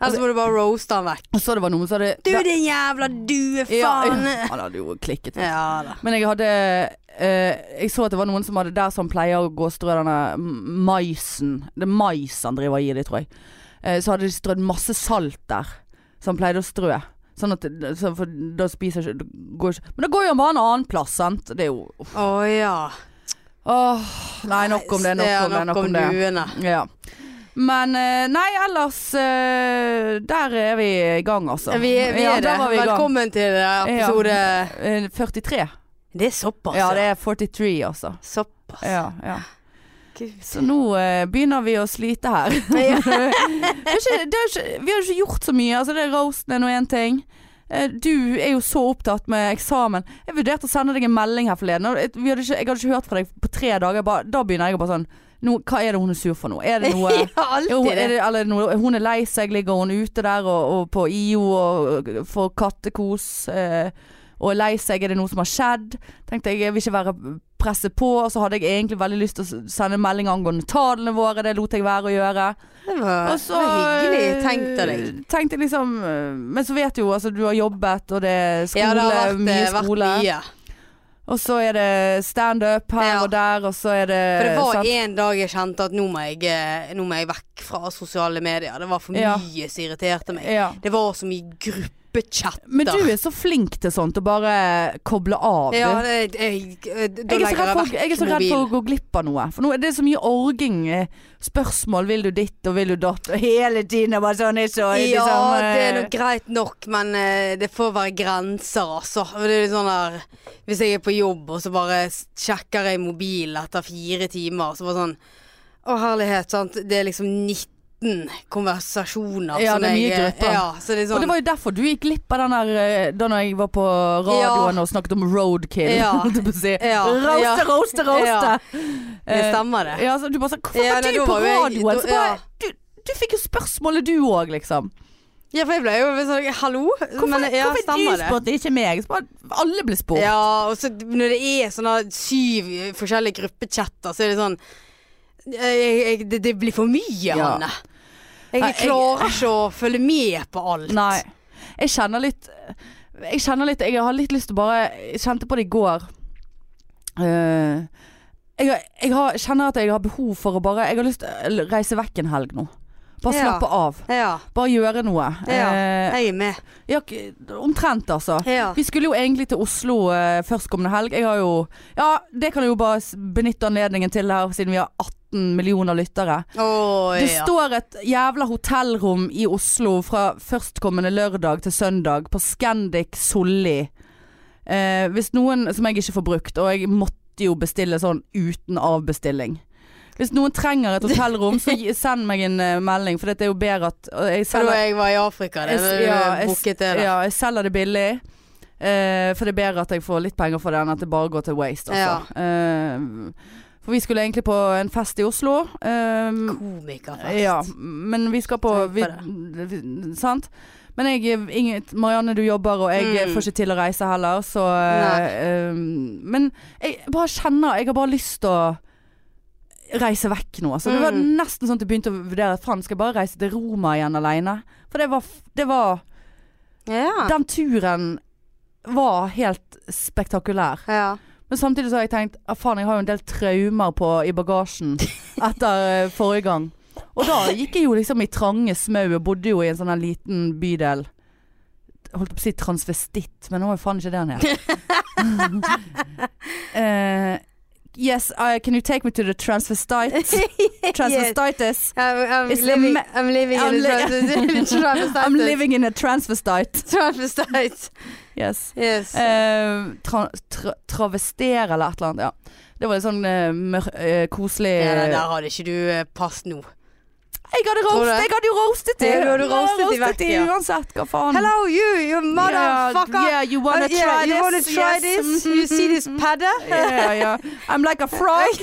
Speaker 2: Ellers må du bare roaste han vekk.
Speaker 1: Og så det var noen som hadde
Speaker 2: Du din jævla duefaen!
Speaker 1: ja, ja,
Speaker 2: ja.
Speaker 1: han hadde jo klikket.
Speaker 2: da.
Speaker 1: Men jeg hadde eh, Jeg så at det var noen som hadde der som pleier å gå og strø denne m- maisen. Det er mais han driver og gir dem, tror jeg. Eh, så hadde de strødd masse salt der, som han pleide å strø. Sånn at så for, Da spiser ikke, det går ikke Men da går jo han bare en annen plass, sant. Det er jo
Speaker 2: Å ja.
Speaker 1: Åh, nei, nok om det, nok
Speaker 2: Ja,
Speaker 1: om det, nok om
Speaker 2: duene.
Speaker 1: det. Ja. Men eh, nei, ellers eh, Der er vi i gang, altså.
Speaker 2: Vi, vi er
Speaker 1: Ja, der
Speaker 2: det.
Speaker 1: var vi i gang.
Speaker 2: Velkommen til episode
Speaker 1: Eh, 43.
Speaker 2: Det er såpass,
Speaker 1: Ja, det er 43, altså.
Speaker 2: Såpass.
Speaker 1: Ja, ja.
Speaker 2: Gud.
Speaker 1: Så nå eh, begynner vi å slite her.
Speaker 2: Ja.
Speaker 1: det er ikke, det er ikke, vi har jo ikke gjort så mye. Altså, det er roasten er nå én ting. Eh, Du er jo så opptatt med eksamen. Jeg vurderte å sende deg en melding her forleden. og et- Vi hadde ikke, jeg hadde ikke hørt fra deg på tre dager. Jeg Bare, da begynner jeg å bare sånn nå, Hva er det hun er sur for nå? Er det noe
Speaker 2: ja, alltid
Speaker 1: Jo, er
Speaker 2: det.
Speaker 1: det, eller, noe- hun er lei seg, ligger hun ute der og, og på IO og og får kattekos eh, og er lei seg, er det noe som har skjedd? Tenkte jeg, jeg vil ikke være presset på, og så hadde jeg egentlig veldig lyst til å s- sende en melding angående tallene våre, det lot jeg være å gjøre.
Speaker 2: Det var,
Speaker 1: Og så
Speaker 2: det var hyggelig tenkt av deg.
Speaker 1: eh, Tenkte jeg liksom, eh, men så vet du jo, altså du har jobbet, og det er skole,
Speaker 2: ja, det har vært,
Speaker 1: mye
Speaker 2: eh,
Speaker 1: skole.
Speaker 2: vært mye.
Speaker 1: Og så er det stand-up her
Speaker 2: Ja.
Speaker 1: og der, og så er det... sånn.
Speaker 2: For det var
Speaker 1: Eh, sant?
Speaker 2: en dag jeg kjente at nå må jeg, eh, nå må jeg vekk fra sosiale medier. Det var for mye
Speaker 1: Ja.
Speaker 2: som irriterte meg.
Speaker 1: Ja.
Speaker 2: Det var så mye gruppechatter.
Speaker 1: Men du er så flink til sånt, å bare koble av.
Speaker 2: ja,
Speaker 1: du.
Speaker 2: det, jeg,
Speaker 1: jeg er,
Speaker 2: eh, Da
Speaker 1: så redd
Speaker 2: legger jeg
Speaker 1: for,
Speaker 2: vekk
Speaker 1: jeg er så redd for å
Speaker 2: mobilen.
Speaker 1: gå glipp av noe. For nå er det så mye orging. eh, Spørsmål 'vil du ditt' og 'vil du datt' og hele tiden er bare sånn ikke, og
Speaker 2: Ja,
Speaker 1: liksom, eh,
Speaker 2: det er nok greit nok, men eh, det får være grenser, altså. Og Det er litt sånn der, hvis jeg er på jobb, og så bare s- sjekker jeg mobilen etter fire timer, så bare sånn Å, herlighet, sant. Det er liksom 19 konversasjoner.
Speaker 1: Ja,
Speaker 2: som
Speaker 1: det er mye
Speaker 2: jeg, eh,
Speaker 1: grupper.
Speaker 2: Ja, så det er
Speaker 1: Og
Speaker 2: sånn
Speaker 1: det var jo derfor du gikk glipp av den der eh, da når jeg var på radioen og snakket om roadkill.
Speaker 2: Ja.
Speaker 1: holdt jeg på å si.
Speaker 2: Ja. Ja.
Speaker 1: Roaste, roaste, roaste!
Speaker 2: Det
Speaker 1: Eh,
Speaker 2: stemmer, det.
Speaker 1: Ja, så du bare sa 'Hvorfor
Speaker 2: Ja,
Speaker 1: var
Speaker 2: nei,
Speaker 1: du
Speaker 2: da
Speaker 1: på
Speaker 2: var jo jeg-
Speaker 1: radioen?' Så
Speaker 2: da- ja.
Speaker 1: bare du, du fikk jo spørsmålet du òg, liksom.
Speaker 2: Ja, for jeg ble jo sånn Hallo?
Speaker 1: Hvorfor,
Speaker 2: Men, ja,
Speaker 1: hvorfor
Speaker 2: stemmer
Speaker 1: du
Speaker 2: det.
Speaker 1: spurte, ikke meg? Så bare, alle ble spurt.
Speaker 2: Ja, og så når det er sånne syv forskjellige gruppechatter, så er det sånn jeg, jeg, det, det blir for mye,
Speaker 1: Ja.
Speaker 2: Hanne. Jeg,
Speaker 1: Nei, jeg-
Speaker 2: klarer ikke å følge med på alt.
Speaker 1: Nei. Jeg kjenner litt Jeg kjenner litt Jeg har litt lyst til å bare Jeg kjente på det i går. Eh, jeg, har- jeg har, kjenner at jeg har behov for å bare Jeg har lyst til å reise vekk en helg nå. Bare
Speaker 2: Ja.
Speaker 1: slappe av.
Speaker 2: Ja,
Speaker 1: Bare gjøre noe.
Speaker 2: Ja.
Speaker 1: Eh,
Speaker 2: jeg er med.
Speaker 1: ja, k- omtrent, altså.
Speaker 2: Ja.
Speaker 1: Vi skulle jo egentlig til Oslo eh, førstkommende helg. Jeg har jo Ja, det kan jeg jo bare s- benytte anledningen til her, siden vi har 18 millioner lyttere.
Speaker 2: Å,
Speaker 1: Det
Speaker 2: ja.
Speaker 1: står et jævla hotellrom i Oslo fra førstkommende lørdag til søndag på Scandic Solli. Eh, hvis noen som jeg ikke får brukt, og jeg måtte jo bestille sånn uten avbestilling. Hvis noen trenger et hotellrom, så gi- send meg en eh, melding, for det er jo bedre at og jeg
Speaker 2: For da
Speaker 1: selger,
Speaker 2: jeg var i Afrika, det
Speaker 1: Jeg s-
Speaker 2: var ja,
Speaker 1: ja, jeg s-
Speaker 2: booket det da.
Speaker 1: ja, jeg selger det billig. Eh, for det er bedre at jeg får litt penger for det enn at det bare går til waste, altså. Eh, for vi skulle egentlig på en fest i Oslo. Eh,
Speaker 2: Komikerfest.
Speaker 1: ja, men vi skal på
Speaker 2: Tenk på
Speaker 1: vi, vi- Sant? Men jeg ingen, Marianne, du jobber, og jeg eh,
Speaker 2: Mm.
Speaker 1: får ikke til å reise heller, så eh, Men jeg bare kjenner Jeg har bare lyst til å reise vekk nå. Altså. Det var
Speaker 2: Mm.
Speaker 1: nesten sånn at jeg begynte å vurdere Faen, skal jeg bare reise til Roma igjen aleine? For det var, f- det var
Speaker 2: Ja.
Speaker 1: Den turen var helt spektakulær.
Speaker 2: ja.
Speaker 1: Men samtidig så har jeg tenkt ah, Faen, jeg har jo en del traumer på, i bagasjen Etter eh, forrige gang Og da gikk jeg jo liksom i trange smau Og bodde jo i en sånn her liten bydel Holdt på å si transvestitt Men nå er jo faen ikke det han heter Eh, Yes, I, can you take me to the transvestite Transvestitis
Speaker 2: I'm, I'm
Speaker 1: It's
Speaker 2: living,
Speaker 1: ama-
Speaker 2: I'm living
Speaker 1: I'm li-
Speaker 2: in the
Speaker 1: I'm living in a transvestite
Speaker 2: Transvestite.
Speaker 1: Yes
Speaker 2: Yes.
Speaker 1: Eh, tra tra travestere eller et eller annet, ja. Det var litt sånn eh, mør eh, koselig
Speaker 2: Ja, nei, der hadde ikke du eh, pass nå.
Speaker 1: Jeg hadde
Speaker 2: Tror du
Speaker 1: roast,
Speaker 2: det?
Speaker 1: jeg hadde jo roastet de.
Speaker 2: Ja, du hadde
Speaker 1: Jeg
Speaker 2: roastet de vekk,
Speaker 1: de
Speaker 2: ja.
Speaker 1: uansett, hva faen.
Speaker 2: Hello you, you motherfucker!
Speaker 1: Yeah, yeah, you wanna
Speaker 2: Uh, Sånn. yeah,
Speaker 1: try
Speaker 2: you
Speaker 1: this?
Speaker 2: wanna try
Speaker 1: Yes,
Speaker 2: this? Mm-hmm,
Speaker 1: mhm,
Speaker 2: You see this
Speaker 1: mhm.
Speaker 2: padda?
Speaker 1: yeah, yeah. I'm like a frog.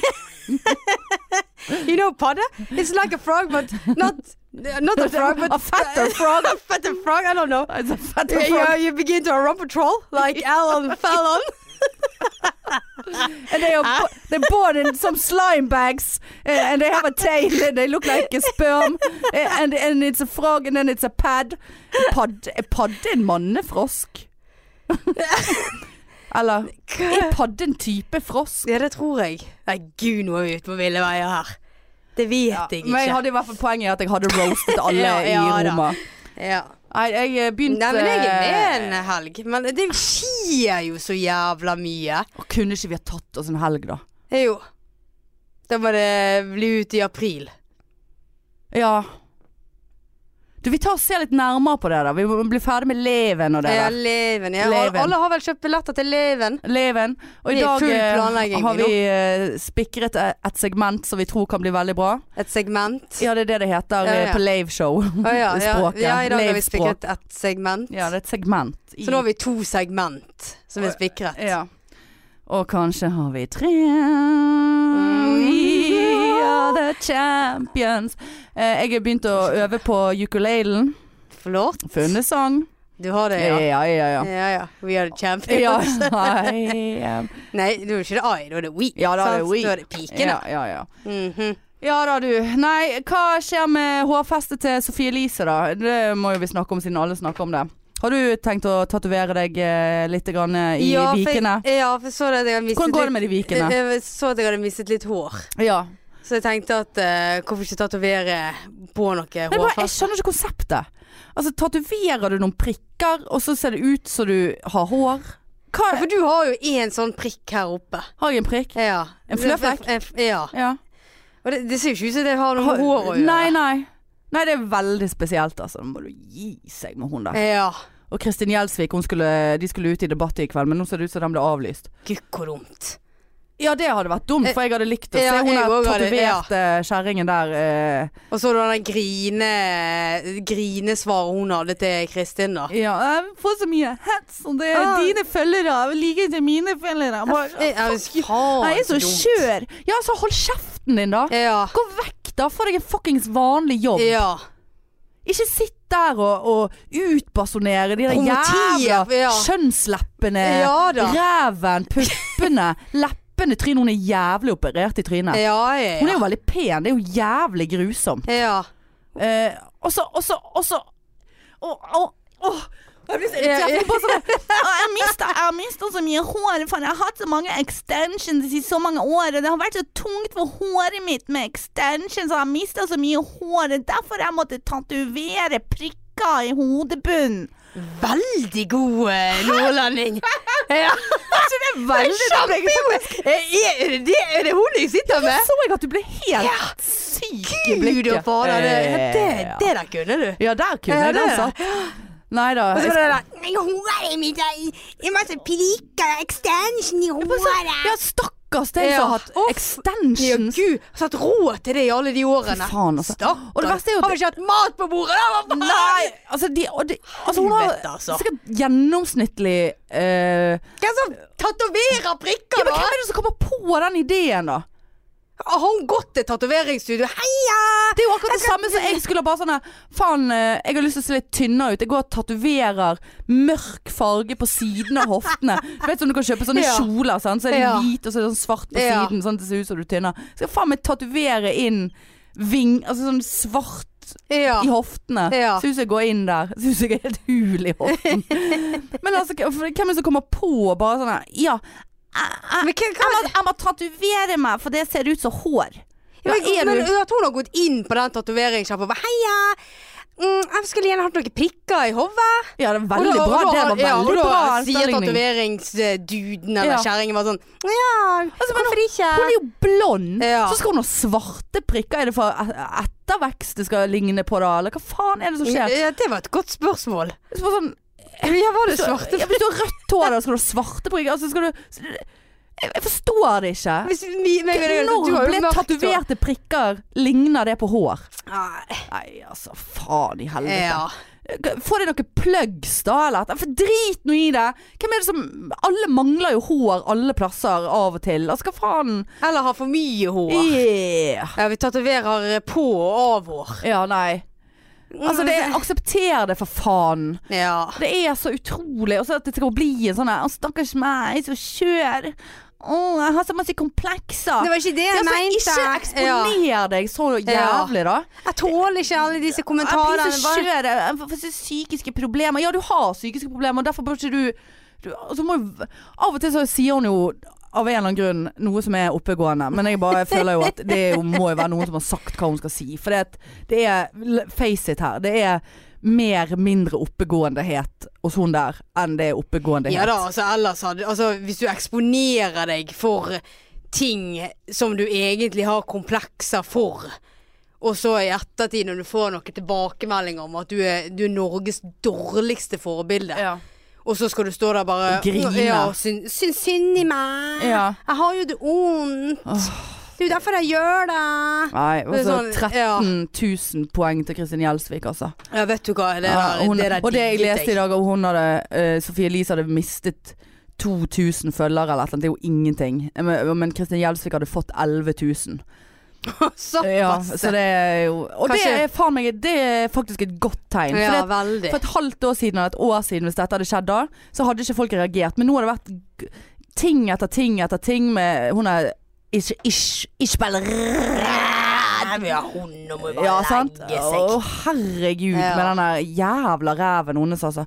Speaker 2: You know padda? It's like a frog, but not not a frog, but
Speaker 1: a fatter frog.
Speaker 2: a fatter frog. I don't know.
Speaker 1: It's a fatter
Speaker 2: You,
Speaker 1: frog.
Speaker 2: you, you begin to run patrol like Alan Fallon.
Speaker 1: And they are bo they're born in some slime bags. eh, and they have a tail. And they look like a sperm. eh, and, and it's a frog. And then it's a pad. Padd, er padde en mannefrosk? Eller er padde en type frosk?
Speaker 2: Ja, det tror jeg. Nei, gud, nå er vi ute på ville veier her. Det vet
Speaker 1: Ja,
Speaker 2: jeg ikke.
Speaker 1: men jeg hadde i hvert fall poenget i at jeg hadde roastet alle
Speaker 2: Ja, ja
Speaker 1: i
Speaker 2: da.
Speaker 1: Roma.
Speaker 2: ja.
Speaker 1: Nei, jeg eh, begynte
Speaker 2: Nei, men jeg er med en helg. Men det skjer jo så jævla mye.
Speaker 1: eh, Å, Kunne ikke vi ha tatt oss en helg, da?
Speaker 2: Jo. Da må det bli ut i april.
Speaker 1: Ja. Du, vi tar og ser litt nærmere på det, da. Vi må bli ferdig med leven og det
Speaker 2: Ja,
Speaker 1: der.
Speaker 2: Eh, Leven. Ja.
Speaker 1: Leven.
Speaker 2: Alle har vel kjøpt billetter til Leven?
Speaker 1: Leven. Og i
Speaker 2: Det er
Speaker 1: dag
Speaker 2: full
Speaker 1: eh,
Speaker 2: planlegging,
Speaker 1: har
Speaker 2: vi nå.
Speaker 1: vi eh, spikret eh, et segment som vi tror kan bli veldig bra.
Speaker 2: Et segment?
Speaker 1: Ja, det er det det heter
Speaker 2: Ja,
Speaker 1: eh,
Speaker 2: ja.
Speaker 1: på Lave-show.
Speaker 2: Å ja, ja.
Speaker 1: Språket.
Speaker 2: ja, i dag har vi
Speaker 1: Leivspråk.
Speaker 2: spikret ett segment.
Speaker 1: Ja, det er et segment. i-
Speaker 2: Så nå har vi to segment som er spikret.
Speaker 1: Ja. Og kanskje har vi tre
Speaker 2: Mm.
Speaker 1: We are the champions. Eh, jeg har begynt å øve på ukulelen.
Speaker 2: Flott.
Speaker 1: Funnet sang.
Speaker 2: Du har det,
Speaker 1: Ja,
Speaker 2: ja.
Speaker 1: ja, ja. ja.
Speaker 2: Ja ja. We are the champions.
Speaker 1: Ja, eh. I am.
Speaker 2: Nei, da er det ikke det I, da er det we.
Speaker 1: Ja, da er det
Speaker 2: sant?
Speaker 1: we.
Speaker 2: Da er det pikene.
Speaker 1: Ja, ja, ja.
Speaker 2: Mhm.
Speaker 1: ja da, du. Nei, hva skjer med hårfestet til Sofie Elise, da? Det må jo vi snakke om, siden alle snakker om det. Har du tenkt å tatovere deg eh, litt grann eh, i
Speaker 2: ja, for,
Speaker 1: vikene?
Speaker 2: Ja, for så det at jeg eh, hadde mistet
Speaker 1: Hvordan går det med de
Speaker 2: litt-
Speaker 1: vikene?
Speaker 2: Jeg, jeg så at jeg hadde mistet litt hår.
Speaker 1: Ja.
Speaker 2: Så jeg tenkte at eh, hvorfor ikke tatovere på
Speaker 1: Men
Speaker 2: noe
Speaker 1: det er bare, jeg
Speaker 2: hårfast?
Speaker 1: skjønner ikke konseptet. Altså, Tatoverer du noen prikker, og så ser det ut som du har hår? Hva
Speaker 2: Ja, for du har jo én sånn prikk her oppe.
Speaker 1: Har jeg en prikk?
Speaker 2: Ja.
Speaker 1: En fløflekk?
Speaker 2: En f- Ja.
Speaker 1: Ja.
Speaker 2: Og det, det ser jo ikke ut som det har noe
Speaker 1: Har-
Speaker 2: med hår å gjøre.
Speaker 1: Nei, nei. Nei, det er veldig spesielt, altså. Må du gi seg med hun der.
Speaker 2: Ja.
Speaker 1: Og Kristin Gjelsvik, hun skulle, de skulle ut i debatt i kveld, men nå ser det ut som den ble avlyst.
Speaker 2: Gud, hvor dumt.
Speaker 1: Ja, det hadde vært dumt, for jeg hadde likt å se
Speaker 2: Eh, Ja,
Speaker 1: hun
Speaker 2: jeg
Speaker 1: der
Speaker 2: også hadde- ja.
Speaker 1: tatoverte kjerringen der. eh,
Speaker 2: Og så du den grine grinesvaret hun hadde til Kristin, da.
Speaker 1: Ja, jeg får så mye hets, og det er
Speaker 2: Ah.
Speaker 1: dine følgere. Jeg liker ikke mine følgere. Bare,
Speaker 2: Jeg er faen
Speaker 1: Nei, jeg er
Speaker 2: så
Speaker 1: så
Speaker 2: dumt.
Speaker 1: skjør. Ja, så hold kjeften din, da.
Speaker 2: Ja.
Speaker 1: Gå vekk, da. Få deg en fuckings vanlig jobb.
Speaker 2: ja.
Speaker 1: Ikke sitt der og, og utbasonere de der
Speaker 2: Promotiv,
Speaker 1: jævla
Speaker 2: ja.
Speaker 1: kjønnsleppene,
Speaker 2: Ja da.
Speaker 1: ræven, puppene, leppene, trynet. Hun er jævlig operert i
Speaker 2: Ja,
Speaker 1: trynet.
Speaker 2: ja.
Speaker 1: Hun er
Speaker 2: ja.
Speaker 1: jo veldig pen. Det er jo jævlig grusomt.
Speaker 2: ja.
Speaker 1: Eh, og så, og så, og så Å, å, å. Jeg blir så irritert. Jeg får bare sånn- Å, Jeg mister, jeg mister så mye hår. For jeg har hatt så mange extensions i så mange år. Og det har vært så tungt for håret mitt med extensions. Og jeg har mista så mye hår. Det er derfor jeg måtte tatovere prikker i hodebunnen.
Speaker 2: Veldig god eh, nordlending. Altså, Ja.
Speaker 1: Kjempegodt!
Speaker 2: Eh, Er, er, det, er det hun jeg sitter med?
Speaker 1: Så jeg at du ble helt syk i
Speaker 2: Gud og
Speaker 1: blikket. Eh,
Speaker 2: fader, det, det,
Speaker 1: Ja.
Speaker 2: det der kunne du.
Speaker 1: Ja, der kunne
Speaker 2: Ja,
Speaker 1: jeg
Speaker 2: det-
Speaker 1: den satt. Nei da.
Speaker 2: Og så
Speaker 1: jeg
Speaker 2: var det der
Speaker 3: Men håret mitt er i- i masse prikker og extension i håret.
Speaker 1: Ja, stakkars deg som
Speaker 2: Ja.
Speaker 1: har hatt
Speaker 2: Uff. Ja,
Speaker 1: extensions.
Speaker 2: gud, har satt råd til det i alle de årene.
Speaker 1: Fy faen, altså.
Speaker 2: Stakkar.
Speaker 1: Og det verste er jo at-
Speaker 2: Har vi ikke hatt mat på bordet, da? Hva faen?
Speaker 1: Nei! Altså, de, og de, altså hun har
Speaker 2: Helvete, altså.
Speaker 1: sikkert gjennomsnittlig eh,
Speaker 2: Hvem som tatoverer
Speaker 1: Ja,
Speaker 2: prikker,
Speaker 1: men
Speaker 2: da?
Speaker 1: hvem er det som kommer på den ideen, da?
Speaker 2: Har hun gått til tatoveringsstudio? Heia!
Speaker 1: Det er jo akkurat det samme som jeg skulle bare sånn her, Faen, eh, jeg har lyst til å se litt tynnere ut. Jeg går og tatoverer mørk farge på siden av hoftene. Du vet sånn du kan kjøpe sånne
Speaker 2: Ja.
Speaker 1: kjoler, sant? så er de
Speaker 2: Ja.
Speaker 1: hvite og så er det sånn svart på
Speaker 2: Ja.
Speaker 1: siden. Sånn at det ser ut som du er tynnere. Skal faen meg tatovere inn ving... Altså sånn svart
Speaker 2: Ja.
Speaker 1: i hoftene.
Speaker 2: Ja.
Speaker 1: Ser ut som jeg går inn der. Ser ut som jeg er helt hul i hoften. Men altså, k- for hvem er det som kommer på og bare sånn her Ja,
Speaker 2: Men, hva, hva,
Speaker 1: jeg må, jeg må tatovere meg, for det ser ut som hår. Hva
Speaker 2: men,
Speaker 1: er
Speaker 2: men
Speaker 1: du?
Speaker 2: at hun har gått inn på den tatoveringssjappa og bare heia! Mm, jeg skulle gjerne hatt noen prikker i hodet.
Speaker 1: Ja, det er
Speaker 2: Og
Speaker 1: veldig
Speaker 2: da- og
Speaker 1: bra.
Speaker 2: da-
Speaker 1: Det var
Speaker 2: ja, og
Speaker 1: veldig
Speaker 2: da
Speaker 1: bra
Speaker 2: Sier
Speaker 1: sammenligning.
Speaker 2: tatoveringsduden eller
Speaker 1: Ja.
Speaker 2: kjerringen bare sånn Ja,
Speaker 1: Altså, men
Speaker 2: hvorfor ikke?
Speaker 1: Hun er jo blond.
Speaker 2: Ja.
Speaker 1: Så skal hun ha svarte prikker. Er det for e- ettervekst det skal ligne på, da? Eller hva faen er det som skjer?
Speaker 2: Ja, det var et godt spørsmål.
Speaker 1: Så bare sånn,
Speaker 2: Ja, var det
Speaker 1: så,
Speaker 2: svarte
Speaker 1: ja, hvis du har rødt hår, da skal du ha svarte prikker. Altså, skal du Jeg jeg forstår det ikke.
Speaker 2: Hvis vi, men, men, du har
Speaker 1: Når
Speaker 2: jo
Speaker 1: ble
Speaker 2: mørkt hår.
Speaker 1: tatoverte prikker Ligner det på hår?
Speaker 2: Nei,
Speaker 1: Nei, altså faen i helvete.
Speaker 2: Ja.
Speaker 1: Få deg noen plugs da, eller et- For drit nå i det! Hvem er det som Alle mangler jo hår alle plasser av og til. Altså, hva faen?
Speaker 2: Eller har for mye hår.
Speaker 1: Yeah.
Speaker 2: Ja, vi tatoverer eh, på og av hår.
Speaker 1: Ja, nei. Altså, det, aksepter det, for faen.
Speaker 2: Mm. Ja.
Speaker 1: Det er så utrolig. Og så at det skal bli en sånn her «Å, Stakkars meg, jeg er så skjør. Å, jeg har så masse komplekser.
Speaker 2: Det var ikke det jeg
Speaker 1: ja, så
Speaker 2: mente.
Speaker 1: ikke eksponer deg så jævlig, da.
Speaker 2: Ja. Jeg tåler ikke alle disse kommentarene.
Speaker 1: Jeg blir så
Speaker 2: Bare-
Speaker 1: skjør. Jeg får- får så psykiske problemer. Ja, du har psykiske problemer, og derfor bør ikke du, du og så må, jo- Av og til så sier hun jo av en eller annen grunn noe som er oppegående, men jeg bare føler jo at det er jo, må jo være noen som har sagt hva hun skal si. For det, at det er l- Face it her. Det er mer mindre oppegåendehet hos hun der enn det er oppegåendehet.
Speaker 2: Ja da, altså ellers hadde Altså hvis du eksponerer deg for ting som du egentlig har komplekser for, Og så i ettertid, når du får noen tilbakemeldinger om at du er, du er Norges dårligste forbilde,
Speaker 1: Ja.
Speaker 2: og så skal du stå der bare
Speaker 1: Og grine.
Speaker 2: Ja, og syn- syns synd i meg.
Speaker 1: Ja.
Speaker 2: Jeg har jo det vondt. Det er jo derfor jeg gjør det.
Speaker 1: Nei,
Speaker 2: Det er
Speaker 1: altså
Speaker 2: sånn,
Speaker 1: 13
Speaker 2: ja.
Speaker 1: 000 poeng til Kristin Gjelsvik, altså.
Speaker 2: Ja, vet du hva. Det der,
Speaker 1: Ja, hun,
Speaker 2: det der
Speaker 1: og det jeg
Speaker 2: digget
Speaker 1: leste i dag, og hun hadde eh, Sofie Elise hadde mistet 2000 følgere eller et eller annet, det er jo ingenting. Eh, Men, men Kristin Gjelsvik hadde fått 11 000. Ja,
Speaker 2: Såpass.
Speaker 1: så det er jo Og det
Speaker 2: Kanskje-
Speaker 1: er faen meg Det er faktisk et godt tegn. For
Speaker 2: ja,
Speaker 1: det,
Speaker 2: veldig.
Speaker 1: for et halvt år siden eller et år siden, hvis dette hadde skjedd da, så hadde ikke folk reagert. Men nå har det vært g- ting etter ting etter ting med Hun er ikke, ikke, ikke
Speaker 2: Nei, ja, hun nå må jo bare
Speaker 1: Ja, sant?
Speaker 2: legge seg.
Speaker 1: Å, herregud,
Speaker 2: Ja.
Speaker 1: med den der jævla ræven hennes, altså.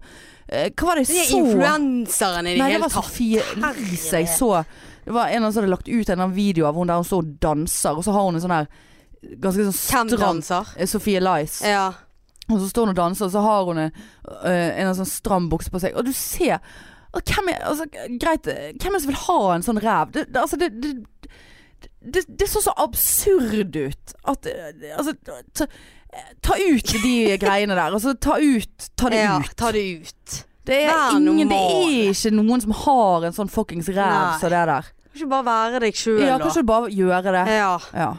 Speaker 1: Eh, Hva var det
Speaker 2: Det
Speaker 1: jeg
Speaker 2: er
Speaker 1: så?
Speaker 2: influenseren i det
Speaker 1: Nei, det
Speaker 2: hele
Speaker 1: var
Speaker 2: tatt.
Speaker 1: Sofie Elise jeg så. Det var en av dem som hadde lagt ut en eller annen video av hun der hun så danser, og så har hun en sånn her ganske sånn
Speaker 2: Hvem
Speaker 1: stram
Speaker 2: danser?
Speaker 1: Eh, Sofie Lice.
Speaker 2: Ja.
Speaker 1: Og så står hun og danser, og så har hun en, øh, en sånn stram bukse på seg. Og du ser og hvem, er, altså, greit, eh, hvem er det som vil ha en sånn ræv? Det, det, altså, det, det, det, det så så absurd ut at eh, Altså, ta, ta ut de greiene der. Altså, ta ut Ta det
Speaker 2: ja,
Speaker 1: ut.
Speaker 2: ta det ut.
Speaker 1: det, er
Speaker 2: Vær
Speaker 1: ingen, det
Speaker 2: normal.
Speaker 1: er ikke noen som har en sånn fuckings ræv
Speaker 2: Nei.
Speaker 1: som det der.
Speaker 2: Kan ikke bare være deg sjøl,
Speaker 1: Ja,
Speaker 2: da.
Speaker 1: kanskje du bare gjøre det.
Speaker 2: Ja.
Speaker 1: Ja.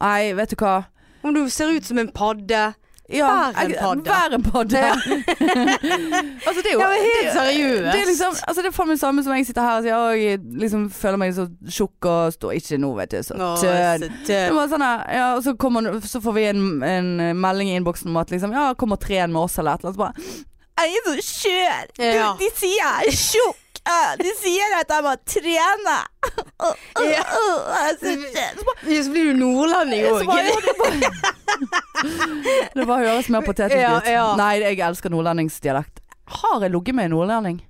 Speaker 1: Nei, vet du hva.
Speaker 2: Om du ser ut som en padde.
Speaker 1: Ja,
Speaker 2: Vær en
Speaker 1: jeg-
Speaker 2: padde.
Speaker 1: Vær en padde.
Speaker 2: Ja.
Speaker 1: altså, det er jo
Speaker 2: Ja, men helt
Speaker 1: det-
Speaker 2: seriøst.
Speaker 1: Det er liksom, altså det er faen meg det samme som jeg sitter her og sier Å, jeg liksom føler meg så tjukk og står ikke nå, vet du. Så
Speaker 2: Å,
Speaker 1: tønn.
Speaker 2: så
Speaker 1: Det
Speaker 2: tønn.
Speaker 1: var sånn her, ja, og så, kommer, så får vi en, en eh, melding i innboksen om at liksom, ja, kom og tren med oss eller et eller annet. Så bare Jeg er så skjør! Du,
Speaker 2: Ja.
Speaker 1: De sier jeg er tjukk! Ja, De sier at jeg må trene! Å, å,
Speaker 2: Ja.
Speaker 1: å, jeg er så skjør. Så bare-
Speaker 2: Ja, så blir du nordlending
Speaker 1: så
Speaker 2: òg.
Speaker 1: bare, ja, det bare- Det bare høres mer patetisk
Speaker 2: Ja,
Speaker 1: ut.
Speaker 2: ja.
Speaker 1: Nei, jeg elsker nordlendingsdialekt. Har jeg ligget med en nordlending?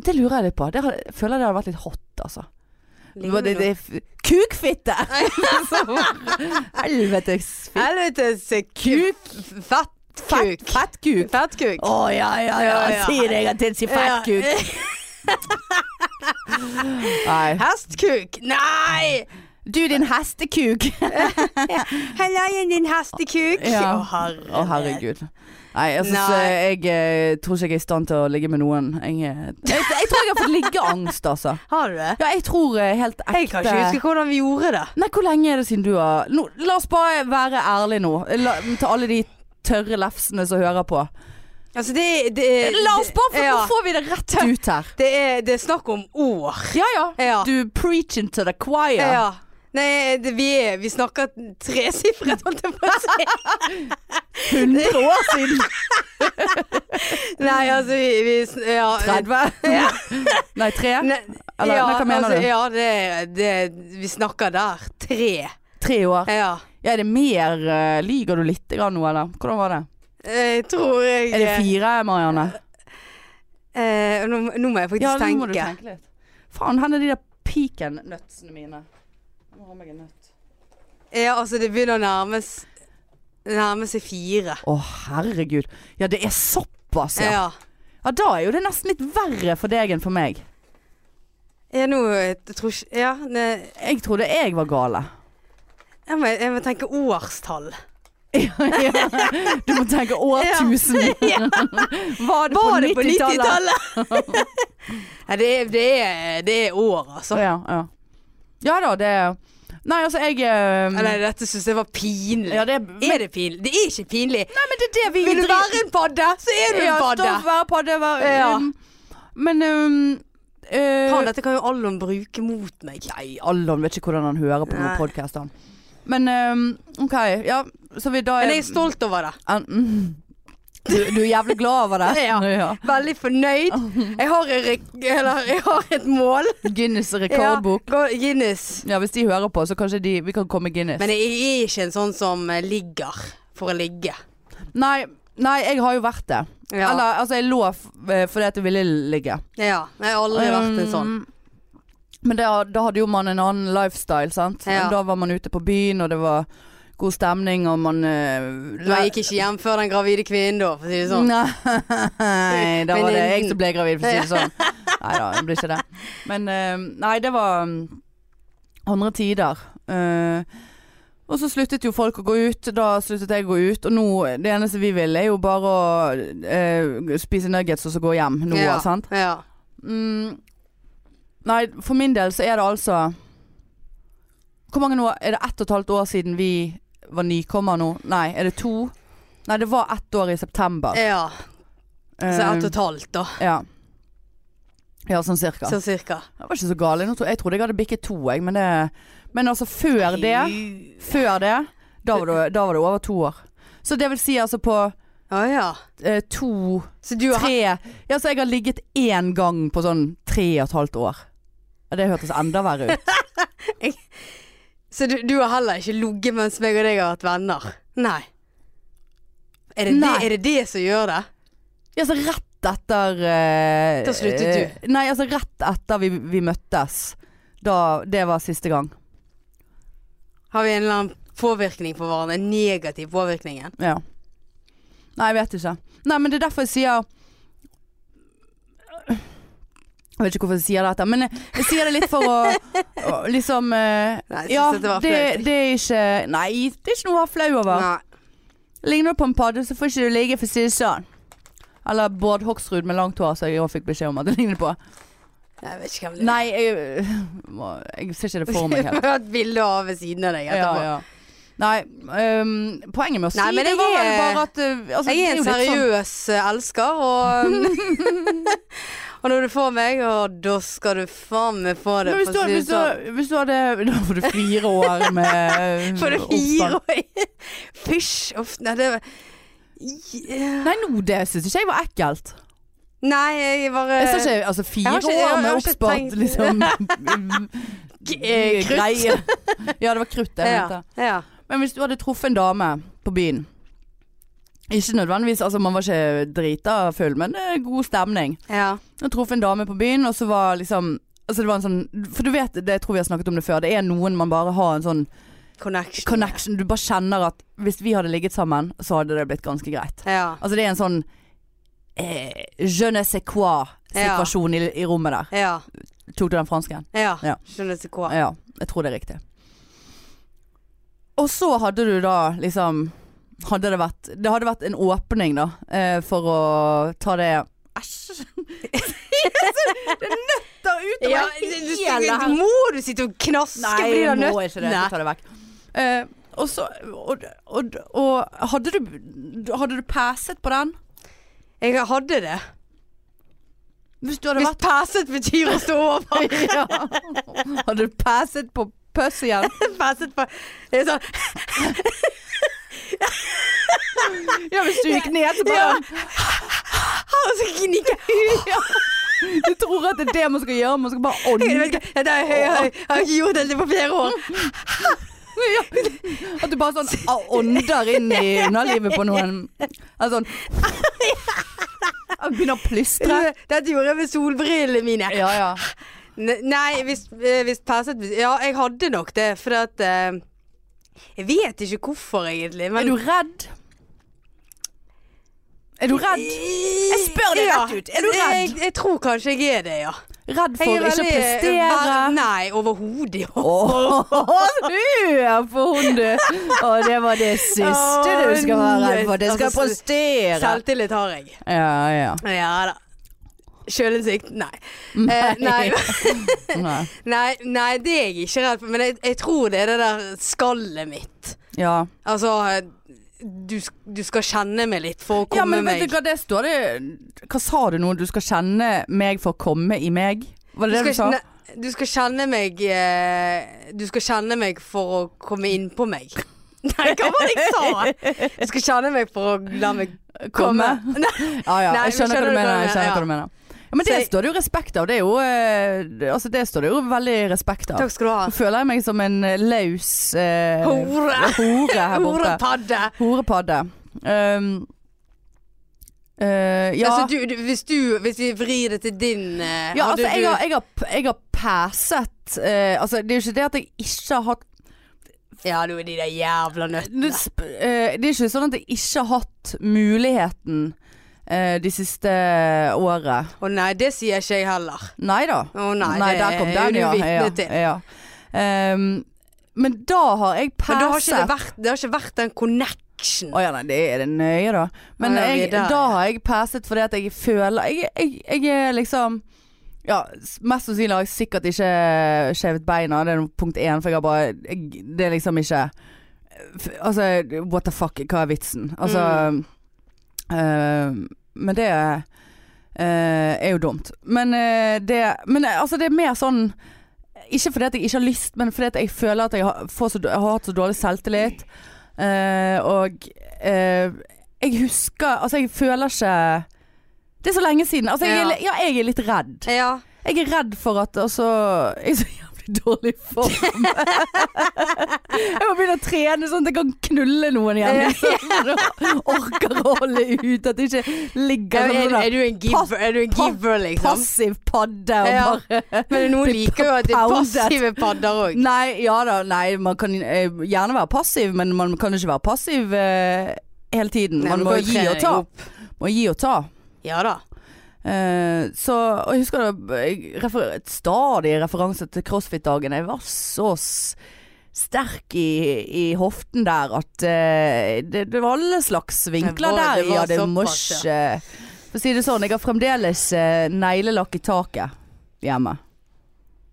Speaker 1: Det lurer jeg litt på. Det har, jeg føler det hadde vært litt hot, altså. Det, var- det, det, er f- kukfitte! Helvetes fi-
Speaker 2: Helvetes kuk. Fettkuk.
Speaker 1: fett- fettkuk.
Speaker 2: Fettkuk.
Speaker 1: Å ja, ja, ja,
Speaker 2: Ja, ja.
Speaker 1: Si det en gang til, si fettkuk. Nei.
Speaker 2: Hestkuk. Nei!
Speaker 1: Du, din hestekuk.
Speaker 2: Hallaien, din hestekuk.
Speaker 1: Ja.
Speaker 2: Å, herre.
Speaker 1: Å, herregud. Nei, jeg, synes,
Speaker 2: Nei.
Speaker 1: eh, jeg eh, tror ikke jeg er i stand til å ligge med noen. Jeg, eh, jeg, jeg tror jeg har fått liggeangst, altså.
Speaker 2: Har du det?
Speaker 1: Ja, jeg tror eh, helt ekte
Speaker 2: Jeg kan ikke huske hvordan vi gjorde det.
Speaker 1: Nei, hvor lenge er det siden du har nå, La oss bare være ærlige nå. La, til alle de tørre lefsene som hører på.
Speaker 2: Altså, det, det,
Speaker 1: La oss bare, for
Speaker 2: ja.
Speaker 1: nå får vi det rett ut her.
Speaker 2: det, er, det er snakk om år.
Speaker 1: Ja, ja.
Speaker 2: Ja.
Speaker 1: Du preaching to the choir.
Speaker 2: Ja. Nei, det, vi, er, vi snakker tresifret, holdt jeg på å si.
Speaker 1: 100 år siden.
Speaker 2: Nei, altså vi, vi sn- ja,
Speaker 1: 30.
Speaker 2: Ja.
Speaker 1: Nei, 3.
Speaker 2: Nei,
Speaker 1: Eller,
Speaker 2: ja,
Speaker 1: nei, hva mener
Speaker 2: altså,
Speaker 1: du?
Speaker 2: Ja, det, det, vi snakker der. Tre.
Speaker 1: Tre år.
Speaker 2: Ja.
Speaker 1: Ja, er det mer eh, Lyger du litt grann nå, eller? Hvordan var det?
Speaker 2: Jeg Eh, tror jeg
Speaker 1: Er det fire, Marianne?
Speaker 2: Eh, nå, nå må jeg faktisk
Speaker 1: Ja, nå må du
Speaker 2: tenke.
Speaker 1: tenke litt. Faen, hvor er de der pecan-nøttsene mine? Jeg må ha meg en nøtt.
Speaker 2: Ja, altså det begynner å nærmes Nærme seg fire.
Speaker 1: Å, herregud. Ja, det er såpass,
Speaker 2: Ja.
Speaker 1: ja. Ja, da er jo det nesten litt verre for deg enn for meg.
Speaker 2: Jeg nå jeg tror ikke Ja, ne,
Speaker 1: Jeg trodde jeg var gale.
Speaker 2: jeg må, jeg må tenke årstall.
Speaker 1: Ja, ja. Du må tenke årtusen.
Speaker 2: Ja.
Speaker 1: Var det
Speaker 2: Var det
Speaker 1: på
Speaker 2: på
Speaker 1: 90-tallet?
Speaker 2: 90-tallet? ja, det er, det, er, det er år, altså.
Speaker 1: ja, ja. ja da, det Nei, altså, jeg eh,
Speaker 2: Eller, dette syns jeg var pinlig.
Speaker 1: ja, det,
Speaker 2: er det pinlig? Det er ikke pinlig.
Speaker 1: Nei, men det er det vi
Speaker 2: Vil du
Speaker 1: driver-
Speaker 2: være en padde, så er du
Speaker 1: Ja,
Speaker 2: en
Speaker 1: stå
Speaker 2: padde.
Speaker 1: og være padde. Være,
Speaker 2: Ja.
Speaker 1: um, men um, eh,
Speaker 2: Faen, dette kan jo Allon bruke mot meg.
Speaker 1: Nei, Allan vet ikke hvordan han hører på noen
Speaker 2: Nei.
Speaker 1: podkast, han. Men ehm, OK, ja. Så vi da
Speaker 2: Men jeg er stolt over det.
Speaker 1: An- mm. du, du er jævlig glad over det?
Speaker 2: Ja. Veldig fornøyd. Jeg har, en rek- eller, jeg har et mål.
Speaker 1: Guinness rekordbok.
Speaker 2: Ja, Guinness.
Speaker 1: Ja. hvis de hører på, så kanskje de, vi kan komme Guinness.
Speaker 2: Men jeg er ikke en sånn som eh, ligger for å ligge.
Speaker 1: nei, nei, jeg har jo vært det.
Speaker 2: Ja.
Speaker 1: Eller altså, jeg lå f- eh, fordi at jeg ville ligge.
Speaker 2: ja. Jeg har aldri vært en sånn.
Speaker 1: Um, Men det, da hadde jo man en annen lifestyle, sant.
Speaker 2: Ja.
Speaker 1: Da var man ute på byen, og det var god stemning, og man eh,
Speaker 2: Man gikk ikke hjem før den gravide kvinnen, da, for å si det sånn.
Speaker 1: Nei, da
Speaker 2: Men
Speaker 1: var det
Speaker 2: en-
Speaker 1: jeg som ble gravid, for å si det sånn. Nei da, det blir ikke det. Men eh, nei, det var mm, andre tider. Eh, Og så sluttet jo folk å gå ut, da sluttet jeg å gå ut. Og nå, det eneste vi vil er jo bare å eh, spise nuggets og så gå hjem nå,
Speaker 2: ja.
Speaker 1: sant.
Speaker 2: Ja.
Speaker 1: Mm. Nei, for min del så er det altså Hvor mange nå? Er det ett og et halvt år siden vi var nykommer nå? Nei, er det to? Nei, det var ett år i september.
Speaker 2: ja. Så
Speaker 1: Eh,
Speaker 2: ett og et halvt, da.
Speaker 1: Ja. ja, sånn cirka.
Speaker 2: Sånn cirka.
Speaker 1: Jeg var ikke så gal. Jeg tro- Jeg trodde jeg hadde bikket to, jeg. Men, det, men altså, før det Før det da var det, da var det over to år. Så det vil si altså på
Speaker 2: Å ja.
Speaker 1: eh, to,
Speaker 2: Så du har
Speaker 1: tre Ja, så jeg har ligget én gang på sånn tre og et halvt år. Ja, Det hørtes enda verre ut.
Speaker 2: Så du, du har heller ikke ligget mens meg og deg har vært venner? Nei. Er det,
Speaker 1: Nei.
Speaker 2: Det, er det det som gjør det?
Speaker 1: Ja, så rett etter eh,
Speaker 2: Da sluttet du.
Speaker 1: eh, Nei, altså rett etter vi, vi møttes. Da Det var siste gang.
Speaker 2: Har vi en eller annen påvirkning på hverandre? En negativ påvirkningen?
Speaker 1: Ja. Nei, jeg vet ikke. Nei, men det er derfor jeg sier Jeg vet ikke hvorfor jeg sier dette, men jeg, jeg sier det litt for å, å liksom eh,
Speaker 2: Nei, jeg synes
Speaker 1: Ja,
Speaker 2: at det var
Speaker 1: det,
Speaker 2: flaut, jeg.
Speaker 1: det er ikke Nei, det er ikke noe å være flau over.
Speaker 2: Nei.
Speaker 1: Ligner du på en padde, så får ikke du ligge, for å si det sånn. Eller Bård Hoksrud med langt hår, som jeg også fikk beskjed om at jeg ligner på.
Speaker 2: Jeg vet ikke hvem det er.
Speaker 1: Nei, jeg, må- jeg ser ikke det for meg
Speaker 2: Jeg
Speaker 1: helt.
Speaker 2: har et bilde av ved siden av deg
Speaker 1: Ja,
Speaker 2: etterpå.
Speaker 1: ja. Nei, øhm, poenget med å si
Speaker 2: Nei, men
Speaker 1: det
Speaker 2: jeg
Speaker 1: var vel
Speaker 2: er-
Speaker 1: bare at øh, altså,
Speaker 2: Jeg
Speaker 1: det jo
Speaker 2: er en
Speaker 1: litt sånn-
Speaker 2: seriøs eh, elsker, og Og når du får meg, og da skal du faen meg få det.
Speaker 1: Men hvis
Speaker 2: for
Speaker 1: du,
Speaker 2: å si det
Speaker 1: hvis, du, hvis du hadde Da får du fire år med
Speaker 2: sånn. For det
Speaker 1: oppstand.
Speaker 2: fire år Fysj! Uff. Nei, det var Ja.
Speaker 1: Nei, nå, det syns ikke jeg var ekkelt.
Speaker 2: Nei, jeg bare
Speaker 1: Jeg sa ikke altså, fire
Speaker 2: har ikke- jeg
Speaker 1: år
Speaker 2: har
Speaker 1: med
Speaker 2: ikke
Speaker 1: oppspart
Speaker 2: tenkt-
Speaker 1: liksom
Speaker 2: G- eh, krutt.
Speaker 1: greie. Ja, det var krutt jeg mente.
Speaker 2: ja, ja.
Speaker 1: Men hvis du hadde truffet en dame på byen Ikke nødvendigvis, altså man var ikke drita full, men det er god stemning.
Speaker 2: ja.
Speaker 1: Jeg truffet en dame på byen, og så var liksom Altså det var en sånn For du vet, det jeg tror vi har snakket om det før, det er noen man bare har en sånn
Speaker 2: Connection.
Speaker 1: connection. Du bare kjenner at hvis vi hadde ligget sammen, så hadde det blitt ganske greit.
Speaker 2: Ja.
Speaker 1: Altså det er en sånn eh, je ne sais quoi-situasjon i, i rommet der.
Speaker 2: Ja.
Speaker 1: Tok du den fransken?
Speaker 2: ja.
Speaker 1: Ja.
Speaker 2: Skjønner ikke hva.
Speaker 1: Ja, jeg tror det er riktig. Og så hadde du da liksom Hadde det vært Det hadde vært en åpning, da, eh, for å ta det Æsj! det nøtter utover
Speaker 2: Ja, du, du,
Speaker 1: hele
Speaker 2: du, må du sitte og knaske
Speaker 1: Nei,
Speaker 2: på de
Speaker 1: jeg
Speaker 2: der
Speaker 1: må ikke det.
Speaker 2: nøttene?
Speaker 1: Jeg tar det vekk. Eh, og så og, og, og hadde du Hadde du passet på den?
Speaker 2: Jeg hadde det.
Speaker 1: Hvis du hadde sånn?
Speaker 2: Hvis passet betyr å stå over.
Speaker 1: vært ja. Hadde du passet på pøss igjen?
Speaker 2: passet på Det er sånn
Speaker 1: Ja, hvis du gikk ned, så bare
Speaker 2: Ja. Og så gnikker jeg.
Speaker 1: Ja. Du tror at det er det man skal gjøre, man skal bare
Speaker 2: Jeg vet
Speaker 1: ånde.
Speaker 2: ikke, Dette har jeg, jeg, jeg har ikke gjort dette på flere år.
Speaker 1: Mm. Ja. At du bare sånn ah, ånder inn i underlivet på noen. Altså sånn At Begynner å plystre.
Speaker 2: Dette gjorde jeg med solbrillene mine.
Speaker 1: Ja, ja.
Speaker 2: Ne- Nei, hvis, eh, hvis passet bet- Ja, jeg hadde nok det, for at eh, Jeg vet ikke hvorfor, egentlig. Men
Speaker 1: Er du redd? Er du redd? Jeg spør deg rett ut. Er du redd?
Speaker 2: Jeg, jeg tror kanskje jeg er det, ja.
Speaker 1: Redd
Speaker 2: Jeg
Speaker 1: for
Speaker 2: er
Speaker 1: ikke å
Speaker 2: veldig, eh,
Speaker 1: prestere?
Speaker 2: ver- Nei, overhodet. ikke.
Speaker 1: Åh, hør på hun du. Å, det var det siste du skal være redd for. Det skal
Speaker 2: Altså,
Speaker 1: prestere.
Speaker 2: Selvtillit har jeg.
Speaker 1: Ja, ja. Mm.
Speaker 2: Ja da. Sjølinnsikt? Nei. Eh, nei.
Speaker 1: Nei.
Speaker 2: nei. Nei, det er jeg ikke redd for. Men jeg, jeg tror det er det der skallet mitt.
Speaker 1: Ja.
Speaker 2: Altså du, sk- du skal kjenne meg litt for å komme
Speaker 1: ja, men
Speaker 2: meg
Speaker 1: vet du hva det står det Hva sa du nå? Du skal kjenne meg for å komme i meg? Var
Speaker 2: Du
Speaker 1: det det
Speaker 2: skal,
Speaker 1: du sa?
Speaker 2: kjenne- du skal kjenne meg eh, Du skal kjenne meg for å komme inn på meg. Nei, hva var det jeg sa? Du skal kjenne meg for å la meg komme.
Speaker 1: Komme?
Speaker 2: Nei,
Speaker 1: Ja, ja,
Speaker 2: Nei,
Speaker 1: jeg skjønner, hva du mener. Jeg skjønner
Speaker 2: ja.
Speaker 1: hva du mener. Ja, men det
Speaker 2: Så jeg-
Speaker 1: står det jo respekt av. Det er jo eh, det- Altså, det står det jo veldig respekt av.
Speaker 2: takk skal du ha.
Speaker 1: Nå føler jeg meg som en eh, løs eh,
Speaker 2: Hore.
Speaker 1: hore her borte.
Speaker 2: Horepadde.
Speaker 1: Horepadde. Um, eh, ja.
Speaker 2: Altså, du, du, hvis, du, hvis vi vrir det til din eh,
Speaker 1: Ja,
Speaker 2: hadde
Speaker 1: altså, jeg
Speaker 2: du,
Speaker 1: har, jeg har, jeg har passet eh, Altså, det er jo ikke det at jeg ikke har hatt
Speaker 2: Ja, nå er de der jævla
Speaker 1: Nå
Speaker 2: nøttene.
Speaker 1: sp- eh, Det er ikke sånn at jeg ikke har hatt muligheten eh, de siste året.
Speaker 2: Å nei, det sier ikke jeg heller.
Speaker 1: Nei da.
Speaker 2: Å nei, det
Speaker 1: der kom
Speaker 2: er
Speaker 1: den,
Speaker 2: du
Speaker 1: ja.
Speaker 2: vitne
Speaker 1: ja,
Speaker 2: til.
Speaker 1: ja. Ehm, Men da har jeg
Speaker 2: Men
Speaker 1: passet
Speaker 2: da har ikke det, vært, det har ikke vært den connection.
Speaker 1: Å ja, nei, det er det nøye, da. Men
Speaker 2: Å ja, vi
Speaker 1: jeg,
Speaker 2: er der,
Speaker 1: da
Speaker 2: ja.
Speaker 1: har jeg passet fordi at jeg føler Jeg, jeg, jeg er liksom ja, s- Mest sannsynlig har jeg sikkert ikke skjevet beina. Det er noe punkt én, for jeg har bare jeg, Det er liksom ikke f- Altså, what the fuck, hva er vitsen? Altså eh, Men det eh, er jo dumt. Men, eh, det, men eh, altså, det er mer sånn ikke fordi at jeg ikke har lyst, men fordi at jeg føler at jeg har, får så, jeg har hatt så dårlig selvtillit. Eh, og eh, jeg husker Altså, jeg føler ikke Det er så lenge siden. Altså, jeg, er
Speaker 2: Ja.
Speaker 1: li- ja, jeg er litt redd.
Speaker 2: Ja.
Speaker 1: Jeg er redd for at altså Jeg er så jævlig dårlig i form. jeg må begynne å trene sånn at jeg kan knulle noen igjen. Liksom. Orker å holde ut. At det ikke ligger
Speaker 2: Er,
Speaker 1: som
Speaker 2: er,
Speaker 1: sånn der
Speaker 2: du en giver, er du en
Speaker 1: pass-
Speaker 2: giver liksom?
Speaker 1: passiv padde og
Speaker 2: Ja.
Speaker 1: bare
Speaker 2: Men noen liker jo at det er
Speaker 1: poundet.
Speaker 2: passive padder òg.
Speaker 1: Nei, ja da, nei, man kan eh, gjerne være passiv, men man kan ikke være passiv eh, hele tiden.
Speaker 2: Nei,
Speaker 1: man
Speaker 2: du
Speaker 1: må
Speaker 2: kan
Speaker 1: gi
Speaker 2: trene
Speaker 1: og ta.
Speaker 2: deg opp.
Speaker 1: Må gi og ta.
Speaker 2: Ja da.
Speaker 1: Eh, så og jeg husker det, jeg refer, et stadig referanse til CrossFit-dagen. Jeg var så s sterk i, i hoften der at eh, det, det var alle slags vinkler
Speaker 2: var-
Speaker 1: der.
Speaker 2: det var
Speaker 1: ja, det må
Speaker 2: såpass,
Speaker 1: ikke For å si det sånn, jeg har fremdeles eh, neglelakk i taket hjemme.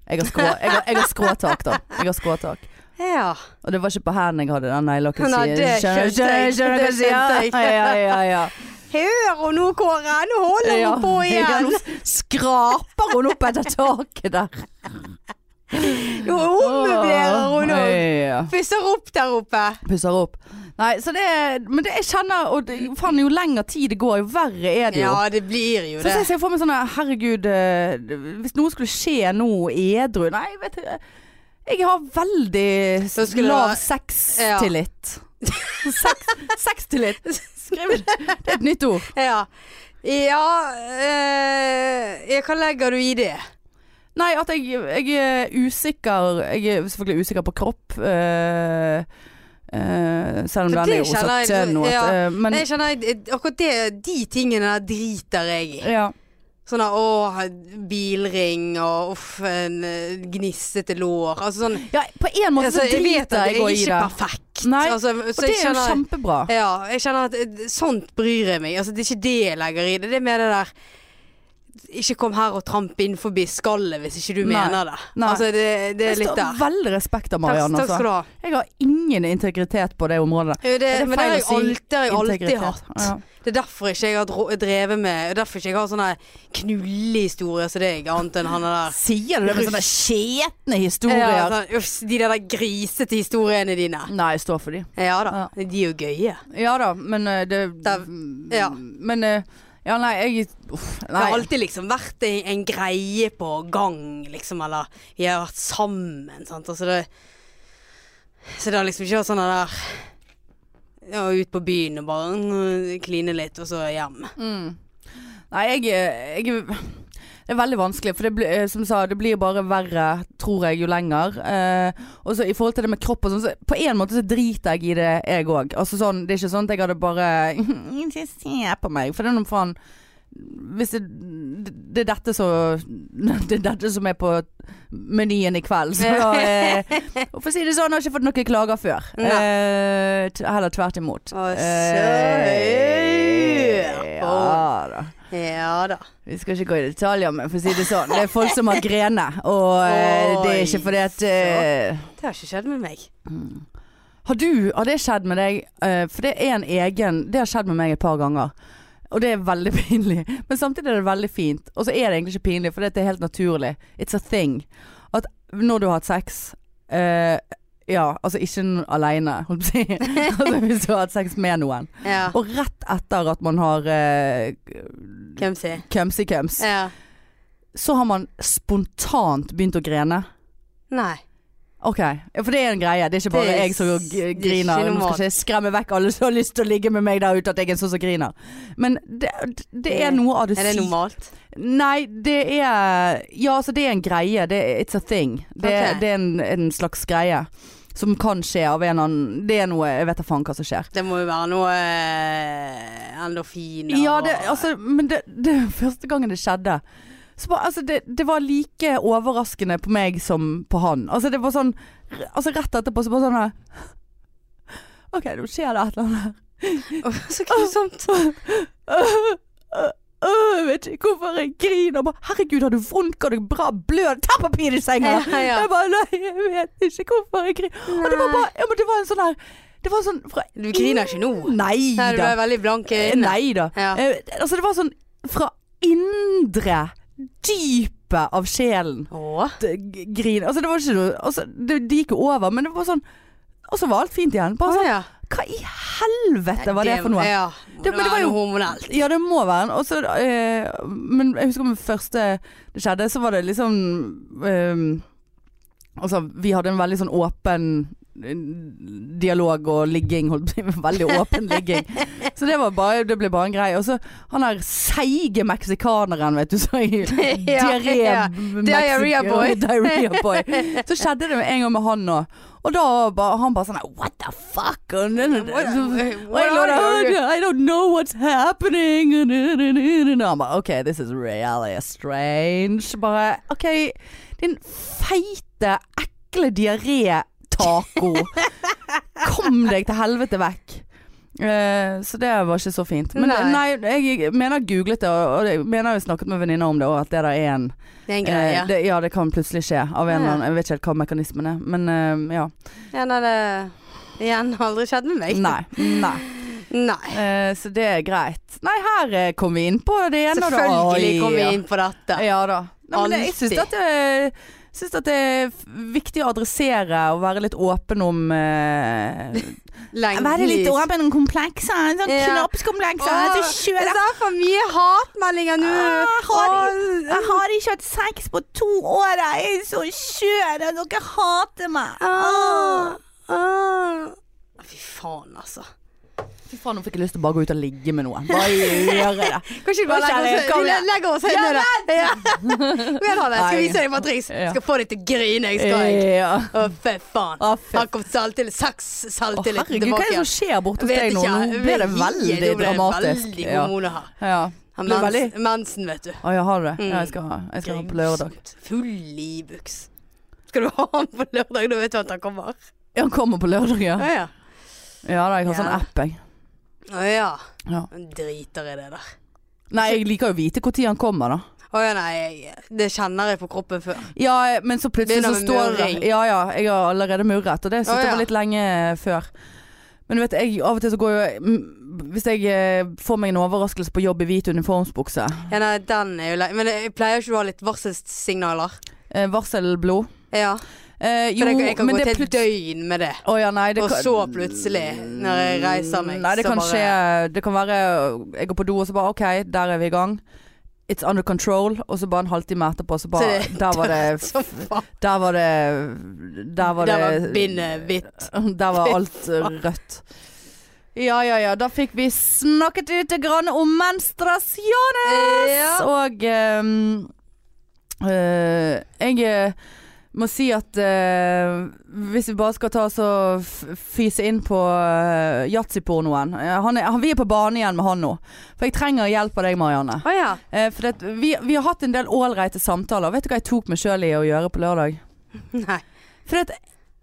Speaker 1: Jeg har, skrå, jeg, har, jeg har skråtak, da. Jeg har skråtak.
Speaker 2: Ja.
Speaker 1: Og det var ikke på hendene jeg hadde den neglelakken.
Speaker 2: Nei, det
Speaker 1: Skjønner-
Speaker 2: skjønte jeg.
Speaker 1: skjønner-
Speaker 2: Det skjønte
Speaker 1: skjønner-
Speaker 2: jeg.
Speaker 1: Ja, ja, ja, ja.
Speaker 2: Hør og nå, Kåre, nå holder
Speaker 1: Ja.
Speaker 2: hun på
Speaker 1: Ja,
Speaker 2: igjen!
Speaker 1: nå skraper hun opp etter taket der.
Speaker 2: Nå ommøblerer hun
Speaker 1: Åh,
Speaker 2: òg!
Speaker 1: ja.
Speaker 2: Pusser opp der oppe.
Speaker 1: Pusser opp. Nei, så det er Men det, jeg kjenner Og det, faen, jo lenger tid det går, jo verre er det jo.
Speaker 2: Ja, det blir jo
Speaker 1: Så
Speaker 2: det.
Speaker 1: jeg ser for meg sånn her, Herregud, eh, hvis noe skulle skje nå edru Nei, vet du Jeg har veldig
Speaker 2: Så skulle
Speaker 1: lav
Speaker 2: du ha-
Speaker 1: sextillit. Sex- Sextillit. Skriv det. Det er et nytt ord.
Speaker 2: Ja. Ja, eh, ja, hva legger du i det?
Speaker 1: Nei, at jeg, jeg er usikker Jeg er selvfølgelig usikker på kropp eh, eh, Selv om
Speaker 2: For
Speaker 1: den er
Speaker 2: det
Speaker 1: jo
Speaker 2: kjenner
Speaker 1: satt
Speaker 2: jeg-
Speaker 1: til noe
Speaker 2: ja.
Speaker 1: eh, Men
Speaker 2: Nei, jeg kjenner, jeg- akkurat det, de tingene der driter jeg i.
Speaker 1: ja,
Speaker 2: Sånn der, åh, bilring og uff, en eh, gnissete lår. Altså sånn
Speaker 1: ja, på en måte så
Speaker 2: altså, Jeg vet
Speaker 1: driter
Speaker 2: at
Speaker 1: jeg
Speaker 2: det
Speaker 1: å
Speaker 2: er
Speaker 1: i
Speaker 2: ikke
Speaker 1: det
Speaker 2: perfekt.
Speaker 1: Nei,
Speaker 2: altså,
Speaker 1: Og det er jo kjempebra
Speaker 2: Ja, jeg kjenner at eh, sånt bryr jeg meg. Altså, det er ikke det jeg legger i det. Det er mer det der Ikke kom her og tramp inn forbi skallet hvis ikke du
Speaker 1: Nei.
Speaker 2: mener det.
Speaker 1: Nei.
Speaker 2: Altså, det, det er
Speaker 1: Jeg
Speaker 2: litt
Speaker 1: står
Speaker 2: der.
Speaker 1: veldig respekt av
Speaker 2: Takk,
Speaker 1: Marianne
Speaker 2: takk
Speaker 1: altså.
Speaker 2: skal du ha.
Speaker 1: Jeg har ingen integritet på det området
Speaker 2: Jo, det,
Speaker 1: Er det
Speaker 2: men det
Speaker 1: feil
Speaker 2: har
Speaker 1: å
Speaker 2: jeg
Speaker 1: si
Speaker 2: alltid, det har jeg alltid
Speaker 1: Integritet.
Speaker 2: hatt. Det er derfor ikke jeg har dro- drevet med og Derfor ikke jeg har sånne knullehistorier som deg, annet enn han
Speaker 1: ja.
Speaker 2: der.
Speaker 1: Sier du det med sånne skjetne historier
Speaker 2: Ja, sånn, uff, de der grisete historiene dine.
Speaker 1: altså. Nei, jeg står for de
Speaker 2: Ja da. De er jo gøye.
Speaker 1: Ja da, men eh, det
Speaker 2: Da- ja.
Speaker 1: Men eh, Ja, nei, jeg uff,
Speaker 2: Det har
Speaker 1: Nei.
Speaker 2: alltid liksom vært en, en greie på gang, liksom, eller vi har vært sammen, sant. Altså det, så det har liksom ikke vært sånn der ja, ut på byen og bare mm, kline litt, og så hjem.
Speaker 1: Nei, jeg, eh, jeg Det er veldig vanskelig, for det blir, eh, som jeg sa, det blir bare verre, tror jeg, jo lenger. Eh, og så i forhold til det med kropp og sånn, så på en måte så driter jeg i det, jeg òg. Altså sånn, det er ikke sånn at jeg hadde bare Ikke se på meg, for det er noe faen Hvis det, det er dette så Det er dette som er på menyen i kveld, så da eh, og For å si det sånn, jeg har ikke fått noen klager før. Eh, t- heller tvert imot.
Speaker 2: Å,
Speaker 1: Eh,
Speaker 2: søren.
Speaker 1: ja da.
Speaker 2: Ja da.
Speaker 1: Vi skal ikke gå i detaljer, men for å si det sånn. Det er folk som har grene, og eh, det er ikke fordi at eh,
Speaker 2: Det har ikke skjedd med meg.
Speaker 1: Har du Har det skjedd med deg? eh, for det er en egen Det har skjedd med meg et par ganger. Og det er veldig pinlig. Men samtidig er det veldig fint. Og så er det egentlig ikke pinlig, for det er helt naturlig. It's a thing. At når du har hatt sex eh, Ja, altså ikke n- aleine, holdt på å si. altså hvis du har hatt sex med noen.
Speaker 2: Ja.
Speaker 1: Og rett etter at man har uh,
Speaker 2: Hvem sier?
Speaker 1: kømsi-køms.
Speaker 2: Ja.
Speaker 1: så har man spontant begynt å grene.
Speaker 2: Nei.
Speaker 1: Ok, ja, For det er en greie. Det er ikke bare
Speaker 2: Det er
Speaker 1: jeg som
Speaker 2: s-
Speaker 1: g-
Speaker 2: det er
Speaker 1: griner. Nå
Speaker 2: ikke normalt.
Speaker 1: skal ikke jeg skremme vekk alle som har lyst til å ligge med meg der ute, at jeg er en sånn som griner. Men det, det er noe av det
Speaker 2: Er det
Speaker 1: sy-
Speaker 2: normalt?
Speaker 1: Nei, det er Ja, altså, det er en greie. Det er, it's a thing. Det,
Speaker 2: Ok.
Speaker 1: det er en, en slags greie som kan skje av en eller annen Det er noe Jeg vet da faen hva som skjer.
Speaker 2: Det må jo være noe eh, endorfiner
Speaker 1: Ja, det,
Speaker 2: og-
Speaker 1: altså, men det, det første gangen det skjedde så bare, altså, det, det var like overraskende på meg som på han. Altså, det var sånn altså rett etterpå så bare sånn her OK, nå skjer det et eller annet her.
Speaker 2: Åh, Så grusomt.
Speaker 1: Øh, øh, vet ikke hvorfor jeg griner. Bare, Herregud, har du vondt? Går det bra? Blør det? Ta papiret i senga!
Speaker 2: Ja, ja.
Speaker 1: Jeg bare Nei, jeg vet ikke hvorfor jeg griner. Og det var bare ja, men Det var en sånn her Det var sånn fra
Speaker 2: Du griner ikke nå.
Speaker 1: Nei
Speaker 2: Nei, du
Speaker 1: da.
Speaker 2: er veldig blank i øynene.
Speaker 1: Nei da.
Speaker 2: Ja.
Speaker 1: Eh, Altså, det var sånn fra indre dypet av sjelen
Speaker 2: Åh.
Speaker 1: d- g- grin. Altså, det var ikke noe altså, det, det gikk jo over, men det var sånn Og så var alt fint igjen. Bare
Speaker 2: Åh,
Speaker 1: sånn
Speaker 2: ja.
Speaker 1: Hva i helvete var det for noe?
Speaker 2: Ja.
Speaker 1: Det-
Speaker 2: Det,
Speaker 1: men det var
Speaker 2: var
Speaker 1: jo-
Speaker 2: jo hormonelt.
Speaker 1: Ja, det må være en. Og så, eh, men jeg husker med første det skjedde, så var det liksom eh, Altså, vi hadde en veldig sånn åpen eh, dialog og ligging, holdt på å si. Veldig åpen ligging. Så det, var bare, det ble bare en greie. Og så han der seige meksikaneren, vet du. Så jeg,
Speaker 2: Ja,
Speaker 1: diaré,
Speaker 2: ja. Diarrhea boy.
Speaker 1: Diarrhea boy. Så skjedde det en gang med han òg. Og da var han bare sånn her, What the fuck? Og, og jeg lå der, I don't know what's happening. Og han bare OK, this is really strange. Bare OK, din feite, ekle diaré-taco. Kom deg til helvete vekk. Eh, så det var ikke så fint. Men nei,
Speaker 2: Nei.
Speaker 1: jeg mener jeg googlet det, og og jeg mener jeg snakket med venninner om det òg, at det der er en
Speaker 2: Det er en
Speaker 1: eh,
Speaker 2: greie.
Speaker 1: det, Ja, det kan plutselig skje. Av en
Speaker 2: Ja.
Speaker 1: eller annen, jeg vet ikke helt hva mekanismen er, men eh, ja.
Speaker 2: Ja, nei, det igjen har aldri skjedd med meg.
Speaker 1: Nei. nei.
Speaker 2: Nei.
Speaker 1: Eh, så det er greit. Nei, her eh, kom vi inn på det ene. og det-
Speaker 2: Selvfølgelig
Speaker 1: Oi,
Speaker 2: kom vi
Speaker 1: ja.
Speaker 2: inn på dette.
Speaker 1: Ja da. Nei, men det, jeg syns at,
Speaker 2: Alltid.
Speaker 1: det- syns at det er f- viktig å adressere og være litt åpen om eh,
Speaker 2: Lengden
Speaker 1: Være litt
Speaker 2: i-
Speaker 1: åpen om komplekser. Sånn
Speaker 2: Ja.
Speaker 1: knoppskomplekser. så
Speaker 2: Åh, Det
Speaker 1: kjører
Speaker 2: er for mye hatmeldinger nå.
Speaker 1: Ah, har
Speaker 2: Åh,
Speaker 1: Jeg har ikke hatt sex på to år. Jeg er så skjør, og dere hater meg. Ah,
Speaker 2: Fy faen, altså.
Speaker 1: Fy faen, nå fikk jeg lyst til å bare gå ut og ligge med noen. Bare gjøre det.
Speaker 2: Kan ikke du bare
Speaker 1: Hva skjer?
Speaker 2: legge oss,
Speaker 1: Kom
Speaker 2: vi
Speaker 1: igjen.
Speaker 2: legger oss helt ned der? Ja. Vel, Hanne, skal
Speaker 1: Nei.
Speaker 2: jeg vise deg Patrice?
Speaker 1: Ja.
Speaker 2: Skal få deg til å grine, jeg skal. jeg.
Speaker 1: Ja.
Speaker 2: Å, fy faen.
Speaker 1: Å, fy-
Speaker 2: Her kom saltille. Saks
Speaker 1: Å,
Speaker 2: saltille
Speaker 1: herregud, hva er det som skjer borte hos deg nå? Nå ble det veldig dramatisk.
Speaker 2: Veldig
Speaker 1: Ja.
Speaker 2: hormoner her.
Speaker 1: Ja.
Speaker 2: Han
Speaker 1: Ble
Speaker 2: mens,
Speaker 1: veldig-
Speaker 2: mensen, vet du.
Speaker 1: Å, jeg har det.
Speaker 2: Mm.
Speaker 1: Ja, jeg skal ha jeg skal ha på lørdag.
Speaker 2: Grusomt. Full i buks. Skal du ha han på lørdag? Da vet du at han kommer.
Speaker 1: Ja, Han kommer på lørdag, ja.
Speaker 2: Å ja.
Speaker 1: Ja da, jeg har sånn
Speaker 2: Ja.
Speaker 1: app, jeg.
Speaker 2: Å ja.
Speaker 1: Ja.
Speaker 2: Han Driter i det der.
Speaker 1: Nei, jeg liker jo å vite når han kommer, da.
Speaker 2: Å ja, nei. Jeg, det kjenner jeg på kroppen før.
Speaker 1: Ja, men så plutselig
Speaker 2: Begynner
Speaker 1: så
Speaker 2: med
Speaker 1: står
Speaker 2: murring.
Speaker 1: Ja, ja, jeg har allerede murret, og det syntes
Speaker 2: Å,
Speaker 1: jeg
Speaker 2: ja.
Speaker 1: var litt lenge eh, før. Men du vet, jeg, av og til så går jo mm, Hvis jeg eh, får meg en overraskelse på jobb i hvit uniformsbukse,
Speaker 2: Ja, nei, den er jo lei. Men jeg pleier ikke å ha litt varselsignaler.
Speaker 1: eh, varselblod
Speaker 2: Ja.
Speaker 1: eh,
Speaker 2: For
Speaker 1: Jo,
Speaker 2: jeg, jeg kan
Speaker 1: men
Speaker 2: gå
Speaker 1: det
Speaker 2: til et
Speaker 1: plutselig
Speaker 2: døgn med det.
Speaker 1: Å ja, nei, det
Speaker 2: Og
Speaker 1: kan-
Speaker 2: så plutselig, når jeg reiser meg,
Speaker 1: Nei, det
Speaker 2: så
Speaker 1: kan
Speaker 2: bare-
Speaker 1: skje Det kan være Jeg går på do, og så bare OK, der er vi i gang. It's under control. Og så bare en halvtime etterpå, så bare
Speaker 2: Så det-
Speaker 1: Der var det
Speaker 2: Så faen.
Speaker 1: Der var det Der var det
Speaker 2: Der var bindet hvitt.
Speaker 1: Der var alt eh, rødt. Ja, ja, ja. Da fikk vi snakket lite grann om menstruasjones!
Speaker 2: Ja.
Speaker 1: Og ehm, eh, jeg eh, må si at eh, hvis vi bare skal ta oss og f- fyse inn på uh, yatzypornoen Eh, han er- han- Vi er på bane igjen med han nå. For jeg trenger hjelp av deg, Marianne.
Speaker 2: Å ja.
Speaker 1: Eh, for det, vi, vi har hatt en del ålreite samtaler. Vet du hva jeg tok meg sjøl i å gjøre på lørdag?
Speaker 2: Nei.
Speaker 1: For det,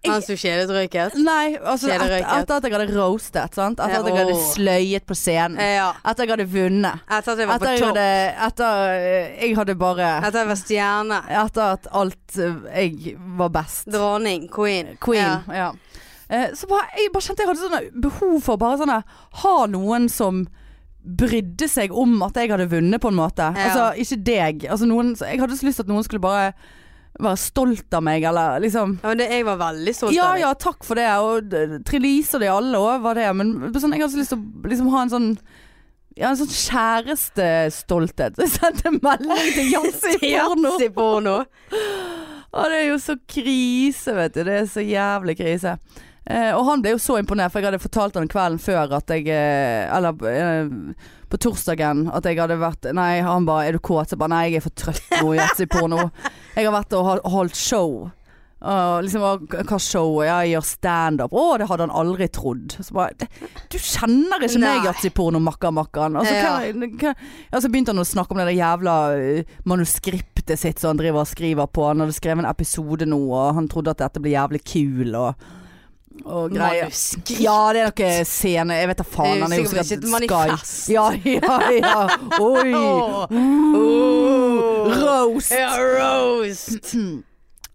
Speaker 2: Mens du kjeledrøyket?
Speaker 1: Nei, altså
Speaker 2: Kjede
Speaker 1: etter,
Speaker 2: røyket.
Speaker 1: etter at jeg hadde roastet, sant? Etter at jeg
Speaker 2: Ja,
Speaker 1: hadde
Speaker 2: åh.
Speaker 1: sløyet på scenen.
Speaker 2: Eh, Ja.
Speaker 1: Etter jeg hadde vunnet.
Speaker 2: Etter at jeg var
Speaker 1: Etter
Speaker 2: på
Speaker 1: jeg
Speaker 2: topp.
Speaker 1: hadde, etter, eh, jeg hadde bare
Speaker 2: Etter at jeg var stjerne.
Speaker 1: Etter at alt eh, jeg var best.
Speaker 2: Dronning. Queen.
Speaker 1: Queen.
Speaker 2: Ja.
Speaker 1: Ja. Eh, Så bare, jeg bare kjente jeg hadde sånne behov for bare sånne Ha noen som brydde seg om at jeg hadde vunnet, på en måte. Altså
Speaker 2: Ja.
Speaker 1: ikke deg. Altså, noen, så jeg hadde så lyst til at noen skulle bare være stolt av meg, eller liksom
Speaker 2: Ja, men det, jeg var veldig stolt
Speaker 1: ja,
Speaker 2: av deg.
Speaker 1: ja, takk for det. Og d- Trelise og de alle òg var det. Men sånn, jeg har så lyst til å liksom, ha en sånn ja, en sånn kjærestestolthet. Så jeg sendte en melding til Jazzy Porno.
Speaker 2: Jazzy porno.
Speaker 1: Å, det er jo så krise, vet du. Det er så jævlig krise. Eh, og han ble jo så imponert, for jeg hadde fortalt han kvelden før at jeg eh, Eller eh, på torsdagen at jeg hadde vært Nei, han bare 'Er du kåt?' Så jeg bare 'Nei, jeg er for trøtt nå, Jazzy Porno'. Jeg har vært og hol- holdt show. Og liksom, og k- hva show? Ja, jeg gjør standup. Å, det hadde han aldri trodd. Så bare, det- du kjenner ikke
Speaker 2: Nei.
Speaker 1: meg, altså. Yatzy-porno, makka-makkaen. Altså,
Speaker 2: Ja.
Speaker 1: hva- hva- ja, så begynte han å snakke om det der jævla eh, manuskriptet sitt som han driver og skriver på. Han hadde skrevet en episode nå, og han trodde at dette ble jævlig kul og, og greier.
Speaker 2: Manuskript.
Speaker 1: Ja, det er noe scene Jeg vet da faen.
Speaker 2: Det er
Speaker 1: Han er jo
Speaker 2: sikkert
Speaker 1: sikkert
Speaker 2: ikke et manifest.
Speaker 1: Sky. Ja, ja, ja. Oi.
Speaker 2: Åh. Åh.
Speaker 1: Roast.
Speaker 2: Ja, roast.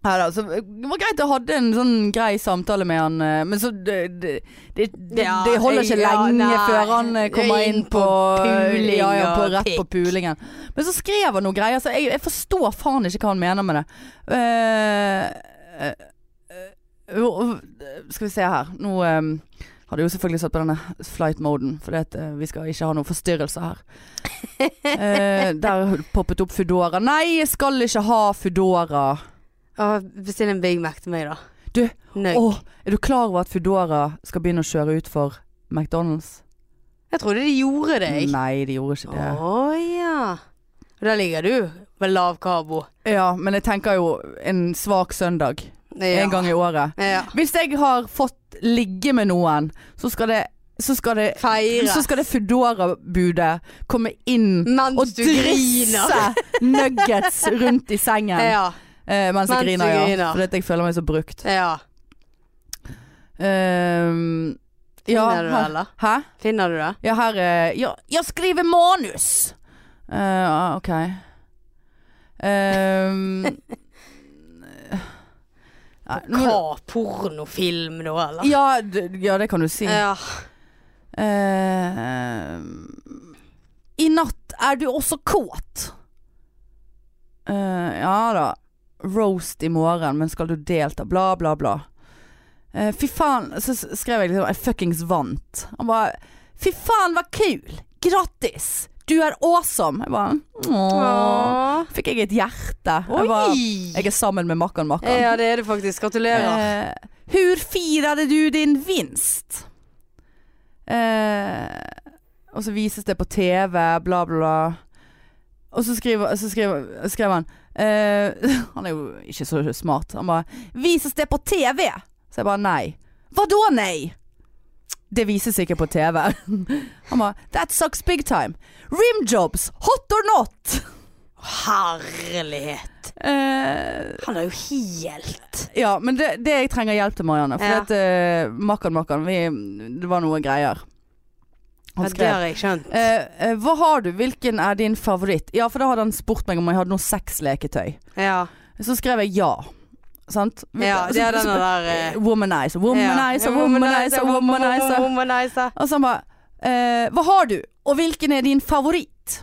Speaker 1: Ja da, så det var greit jeg hadde en sånn grei samtale med han, eh, men så det, det, det, det,
Speaker 2: Ja,
Speaker 1: det holder ikke
Speaker 2: jeg- ja,
Speaker 1: lenge
Speaker 2: nei.
Speaker 1: før han eh, kommer
Speaker 2: Inn
Speaker 1: inn på, eh,
Speaker 2: på puling
Speaker 1: ja, ja, på
Speaker 2: og
Speaker 1: Rett på pulingen. Men så skrev han noe greier, så jeg, jeg forstår faen ikke hva han mener med det. Eh, eh, eh, hvor- skal vi se her. Nå eh, har du jo selvfølgelig satt på denne flight-moden, for eh, vi skal ikke ha noen forstyrrelser her. Eh, der poppet opp Foodora. Nei, jeg skal ikke ha Foodora.
Speaker 2: Åh, Bestill en Big Mac til meg, da.
Speaker 1: Du,
Speaker 2: Nøy.
Speaker 1: Åh, er du klar over at Foodora skal begynne å kjøre ut for McDonald's?
Speaker 2: Jeg trodde de gjorde det. jeg.
Speaker 1: Nei, de gjorde ikke
Speaker 2: Å
Speaker 1: det.
Speaker 2: ja. Og der ligger du med lav karbo.
Speaker 1: Ja, men jeg tenker jo en svak søndag.
Speaker 2: Ja.
Speaker 1: En gang i året.
Speaker 2: Ja.
Speaker 1: Hvis jeg har fått ligge med noen, så skal det så skal det,
Speaker 2: Feires.
Speaker 1: så skal det Foodora-budet komme inn
Speaker 2: Mens
Speaker 1: og
Speaker 2: du griner.
Speaker 1: drisse nuggets rundt i sengen
Speaker 2: Ja.
Speaker 1: eh, mens jeg
Speaker 2: Mens du
Speaker 1: griner. Ja.
Speaker 2: griner.
Speaker 1: Fordi at jeg føler meg så brukt.
Speaker 2: ja.
Speaker 1: Ehm, ja,
Speaker 2: Finner du Sånn det,
Speaker 1: her-
Speaker 2: eller?
Speaker 1: hæ?
Speaker 2: Finner du det?
Speaker 1: Ja, her er ja, Jeg skriver manus! Eh, ok. Ehm, eh, nei, nå-
Speaker 2: Hva pornofilm da, eller?
Speaker 1: ja, d- ja, det kan du si.
Speaker 2: Ja.
Speaker 1: Ehm, Eh, I natt er du også kåt. Eh, ja da. Roast i morgen, men skal du delta? Bla, bla, bla. Eh, fy faen, så s- skrev jeg liksom Jeg fuckings vant. Han bare Fy faen, hva kul! Grattis! Du er awesome! Jeg bare Åh.
Speaker 2: Åh.
Speaker 1: Fikk jeg et hjerte.
Speaker 2: Oi!
Speaker 1: Jeg, bare, jeg er sammen med makkan makkan.
Speaker 2: Ja, det er det faktisk. Gratulerer.
Speaker 1: Eh, hur firade du din vinst? Eh, og så vises det på TV, bla bla bla. Og så skriver, så skriver, skrev han eh, Han er jo ikke så smart. Han bare 'Vises det på TV?' Så jeg bare nei. Hva da nei? Det vises ikke på TV. Han bare 'That sucks big time'. Rimjobs, hot or not?
Speaker 2: Herlighet.
Speaker 1: Eh,
Speaker 2: Han er jo helt
Speaker 1: Ja, men det, det jeg trenger hjelp til, Marianne. For
Speaker 2: Ja.
Speaker 1: at eh, Makkan Makkan, vi, det var noe greier.
Speaker 2: Ja,
Speaker 1: Han
Speaker 2: Det
Speaker 1: skrev
Speaker 2: har jeg skjønt.
Speaker 1: eh, eh, Hva har du? Hvilken er din favoritt? Ja, for da hadde han spurt meg om jeg hadde noe sexleketøy.
Speaker 2: Ja.
Speaker 1: Så skrev jeg ja. Sant?
Speaker 2: ja det er
Speaker 1: Så-
Speaker 2: denne
Speaker 1: så-
Speaker 2: der eh,
Speaker 1: Womanizer, womanizer,
Speaker 2: ja.
Speaker 1: womanizer, womanizer.
Speaker 2: womanizer.
Speaker 1: Og så han bare eh, Hva har du? Og hvilken er din favoritt?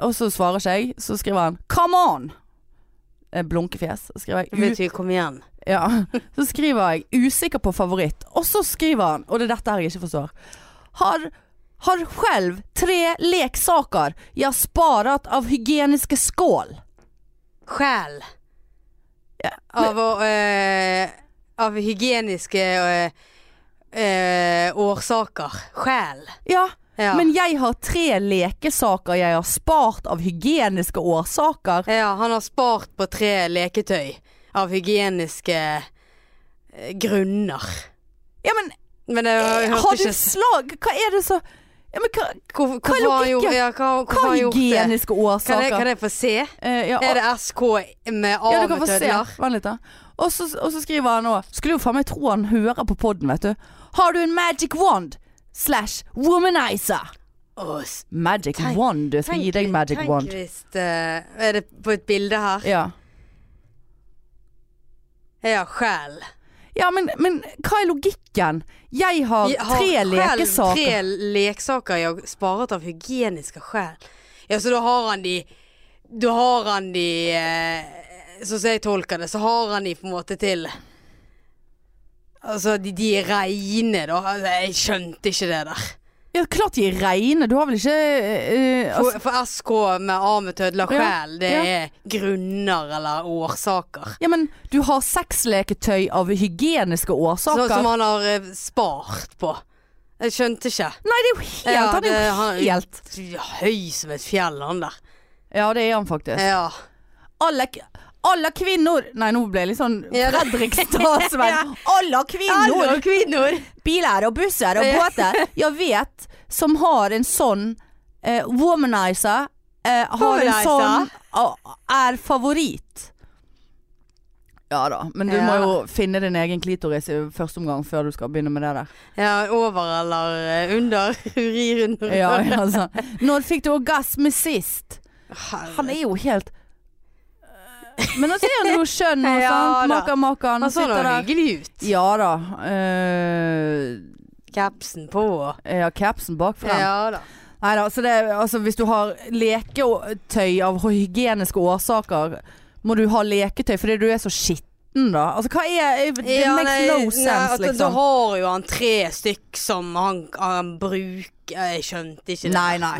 Speaker 1: Og så svarer ikke jeg. Så skriver han 'come on'. Eh, Blunkefjes. Så skriver
Speaker 2: Det
Speaker 1: jeg
Speaker 2: betyr kom igjen.
Speaker 1: Ja, så skriver jeg 'usikker på favoritt', og så skriver han, og det er dette her jeg ikke forstår Har, har selv tre leksaker jeg har sparet av hygieniske skål.
Speaker 2: Sjel.
Speaker 1: Ja,
Speaker 2: Av, å, eh, av hygieniske eh, eh, årsaker. Sjel.
Speaker 1: Ja,
Speaker 2: Ja.
Speaker 1: men jeg har tre lekesaker jeg har spart av hygieniske årsaker.
Speaker 2: ja, han har spart på tre leketøy av hygieniske eh, grunner.
Speaker 1: Ja, men
Speaker 2: Men det jeg
Speaker 1: har
Speaker 2: hørte
Speaker 1: du
Speaker 2: ikke s-
Speaker 1: slag? Hva er det så Ja, men hva, hva er
Speaker 2: hvor, hvorfor har han gjort-
Speaker 1: logikken?
Speaker 2: Ja, hva, hvorfor
Speaker 1: hva
Speaker 2: har han
Speaker 1: er
Speaker 2: gjort det?
Speaker 1: hygieniske
Speaker 2: Kan jeg,
Speaker 1: årsaker?
Speaker 2: kan jeg få se?
Speaker 1: Eh, ja,
Speaker 2: Er det SK med A
Speaker 1: Ja, du kan
Speaker 2: med
Speaker 1: få se.
Speaker 2: tødler?
Speaker 1: Vent litt, da. Og så, og så skriver han òg Skulle jo faen meg tro han hører på poden, vet du. Har du en magic wand slash womanizer?
Speaker 2: Å, s-
Speaker 1: Magic
Speaker 2: Tenk-
Speaker 1: wand. Du jeg skal gi deg magic
Speaker 2: tenk
Speaker 1: wand.
Speaker 2: hvis det- Er det på et bilde her?
Speaker 1: Ja.
Speaker 2: Ja, sjel.
Speaker 1: ja, men, men hva er logikken? Jeg har,
Speaker 2: Jeg har
Speaker 1: tre
Speaker 2: selv
Speaker 1: lekesaker.
Speaker 2: Tre leksaker jeg har sparet av hygieniske sjel. Ja, så da har han de Da har han de eh, Sånn som jeg tolker det, så har han de på en måte til Altså, de, de er reine, da. Altså, jeg skjønte ikke det der.
Speaker 1: Ja, klart de er reine. Du har vel ikke eh, eh,
Speaker 2: For,
Speaker 1: altså,
Speaker 2: for SK med A med tødler
Speaker 1: Ja,
Speaker 2: sjel, det
Speaker 1: ja.
Speaker 2: er grunner eller årsaker.
Speaker 1: Ja, men du har sexleketøy av hygieniske
Speaker 2: Så,
Speaker 1: årsaker.
Speaker 2: som han har eh, spart på. Jeg skjønte ikke.
Speaker 1: Nei, det er jo helt
Speaker 2: Ja,
Speaker 1: Han er
Speaker 2: det-
Speaker 1: jo
Speaker 2: han er-
Speaker 1: helt
Speaker 2: Høy som et fjell, han der.
Speaker 1: Ja, det er han faktisk.
Speaker 2: Ja.
Speaker 1: alle, Alle kvinner Nei, nå ble jeg litt sånn
Speaker 2: Ja, det- Ja.
Speaker 1: Fredrikstad-Sven. Alle kvinner!
Speaker 2: Alle kvinner!
Speaker 1: Biler og busser og
Speaker 2: Ja.
Speaker 1: båter. Jeg vet som har en sånn eh, womanizer, eh, har en
Speaker 2: Womanizer?
Speaker 1: sånn og er favoritt. Ja da, men du må
Speaker 2: Ja.
Speaker 1: jo finne din egen klitoris i første omgang før du skal begynne med det der.
Speaker 2: Ja, over eller eh, under. Urir under.
Speaker 1: Ja, altså. Når fikk du orgasme sist? Han er jo helt Men altså er han jo skjønn og sånn.
Speaker 2: Ja
Speaker 1: sånt.
Speaker 2: da.
Speaker 1: Makan, makan.
Speaker 2: Han så da
Speaker 1: Sitter der.
Speaker 2: hyggelig ut.
Speaker 1: Ja da. eh,
Speaker 2: Capsen på.
Speaker 1: ja, capsen bakfra.
Speaker 2: Ja da.
Speaker 1: Nei da, så det er- altså hvis du har leketøy av hygieniske årsaker, må du ha leketøy fordi du er så skitten da. Altså hva er It
Speaker 2: Ja,
Speaker 1: makes
Speaker 2: nei,
Speaker 1: no
Speaker 2: nei,
Speaker 1: sense,
Speaker 2: at da- Da
Speaker 1: liksom.
Speaker 2: har jo han tre stykk som han, han bruker Jeg skjønte ikke det.
Speaker 1: Nei, nei.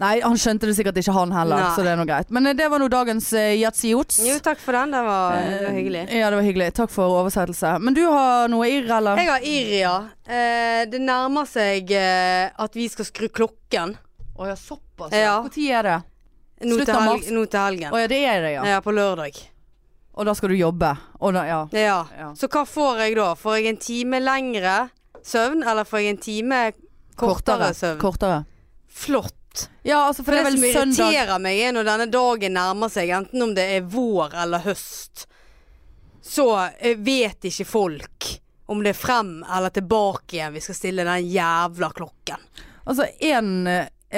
Speaker 1: Nei, han skjønte det sikkert ikke han heller,
Speaker 2: Nei.
Speaker 1: så det er nå greit. Men eh, det var nå dagens eh, Yatzy Jots.
Speaker 2: Jo, takk for den. Det var, det var hyggelig.
Speaker 1: Ja, det var hyggelig. Takk for oversettelse. Men du har noe irr, eller?
Speaker 2: Jeg har Iria. Eh, det nærmer seg eh, at vi skal skru klokken.
Speaker 1: Å ja, såpass.
Speaker 2: ja.
Speaker 1: Når er det?
Speaker 2: Nå
Speaker 1: Slutt
Speaker 2: til,
Speaker 1: av
Speaker 2: helg
Speaker 1: mars.
Speaker 2: nå til helgen.
Speaker 1: Å ja, det er det, ja.
Speaker 2: Ja, på lørdag.
Speaker 1: Og da skal du jobbe. Og da, ja.
Speaker 2: Ja.
Speaker 1: Ja.
Speaker 2: Så hva får jeg da? Får jeg en time lengre søvn, eller får jeg en time kortere, søvn?
Speaker 1: Kortere.
Speaker 2: Flott.
Speaker 1: Ja, altså, for, det er
Speaker 2: For det, som
Speaker 1: vel søndag.
Speaker 2: irriterer meg, er når denne dagen nærmer seg, enten om det er vår eller høst, så eh, vet ikke folk om det er frem eller tilbake igjen vi skal stille den jævla klokken.
Speaker 1: Altså, en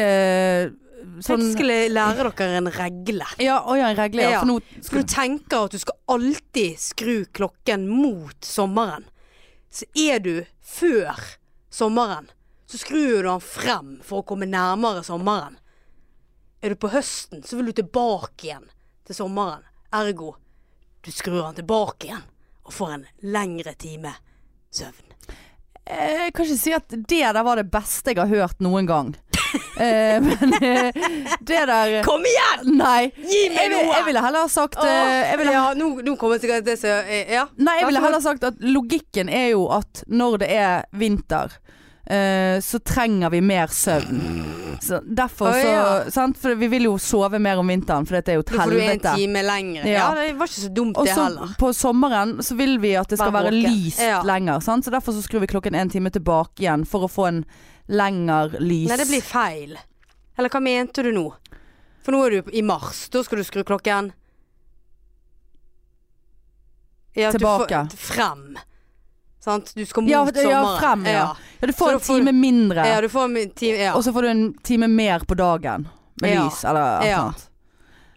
Speaker 1: eh,
Speaker 2: Sånn...
Speaker 1: sånn
Speaker 2: Jeg skulle lære dere en regle.
Speaker 1: Ja, å ja, en regle, ja.
Speaker 2: Ja.
Speaker 1: For nå
Speaker 2: For du tenker at du skal alltid skru klokken mot sommeren. Så er du før sommeren, så skrur du den frem for å komme nærmere sommeren. Er du på høsten, så vil du tilbake igjen til sommeren. Ergo, du skrur den tilbake igjen og får en lengre time søvn.
Speaker 1: Eh, Jeg kan ikke si at det der var det beste jeg har hørt noen gang. eh, men eh, det der
Speaker 2: Kom igjen!
Speaker 1: Nei.
Speaker 2: Gi
Speaker 1: Jeg,
Speaker 2: meg
Speaker 1: vil-
Speaker 2: noe!
Speaker 1: jeg ville heller ha sagt eh, jeg ville,
Speaker 2: ja, nå, nå kommer sikkert det som eh, Ja.
Speaker 1: Nei, jeg
Speaker 2: Vær
Speaker 1: ville
Speaker 2: så
Speaker 1: heller sagt at logikken er jo at når det er vinter eh, så trenger vi mer søvn. Så derfor
Speaker 2: Å,
Speaker 1: så
Speaker 2: ja.
Speaker 1: sant? For vi vil jo sove mer om vinteren, for dette er jo et
Speaker 2: Da får du en
Speaker 1: helvete.
Speaker 2: time lengre. Ja,
Speaker 1: Ja.
Speaker 2: det var ikke så dumt,
Speaker 1: Og
Speaker 2: det
Speaker 1: så
Speaker 2: heller.
Speaker 1: på sommeren så vil vi at det skal
Speaker 2: Være
Speaker 1: være
Speaker 2: våken.
Speaker 1: lyst
Speaker 2: Ja.
Speaker 1: lenger. Sant? Så derfor så skrur vi klokken en time tilbake igjen for å få en lengre lys.
Speaker 2: Nei, det blir feil. Eller hva mente du nå? For nå er du i mars. Da skal du skru klokken ja, at du får-
Speaker 1: Tilbake.
Speaker 2: Frem. Sant? Du skal mot
Speaker 1: Ja, det- ja,
Speaker 2: sommeren.
Speaker 1: frem, ja. ja, du
Speaker 2: Så
Speaker 1: får
Speaker 2: da
Speaker 1: en
Speaker 2: får du-
Speaker 1: time mindre,
Speaker 2: Ja. ja, du får en time Ja,
Speaker 1: og så får du en time mer på dagen med
Speaker 2: Ja.
Speaker 1: lys eller noe
Speaker 2: Ja.
Speaker 1: sånt.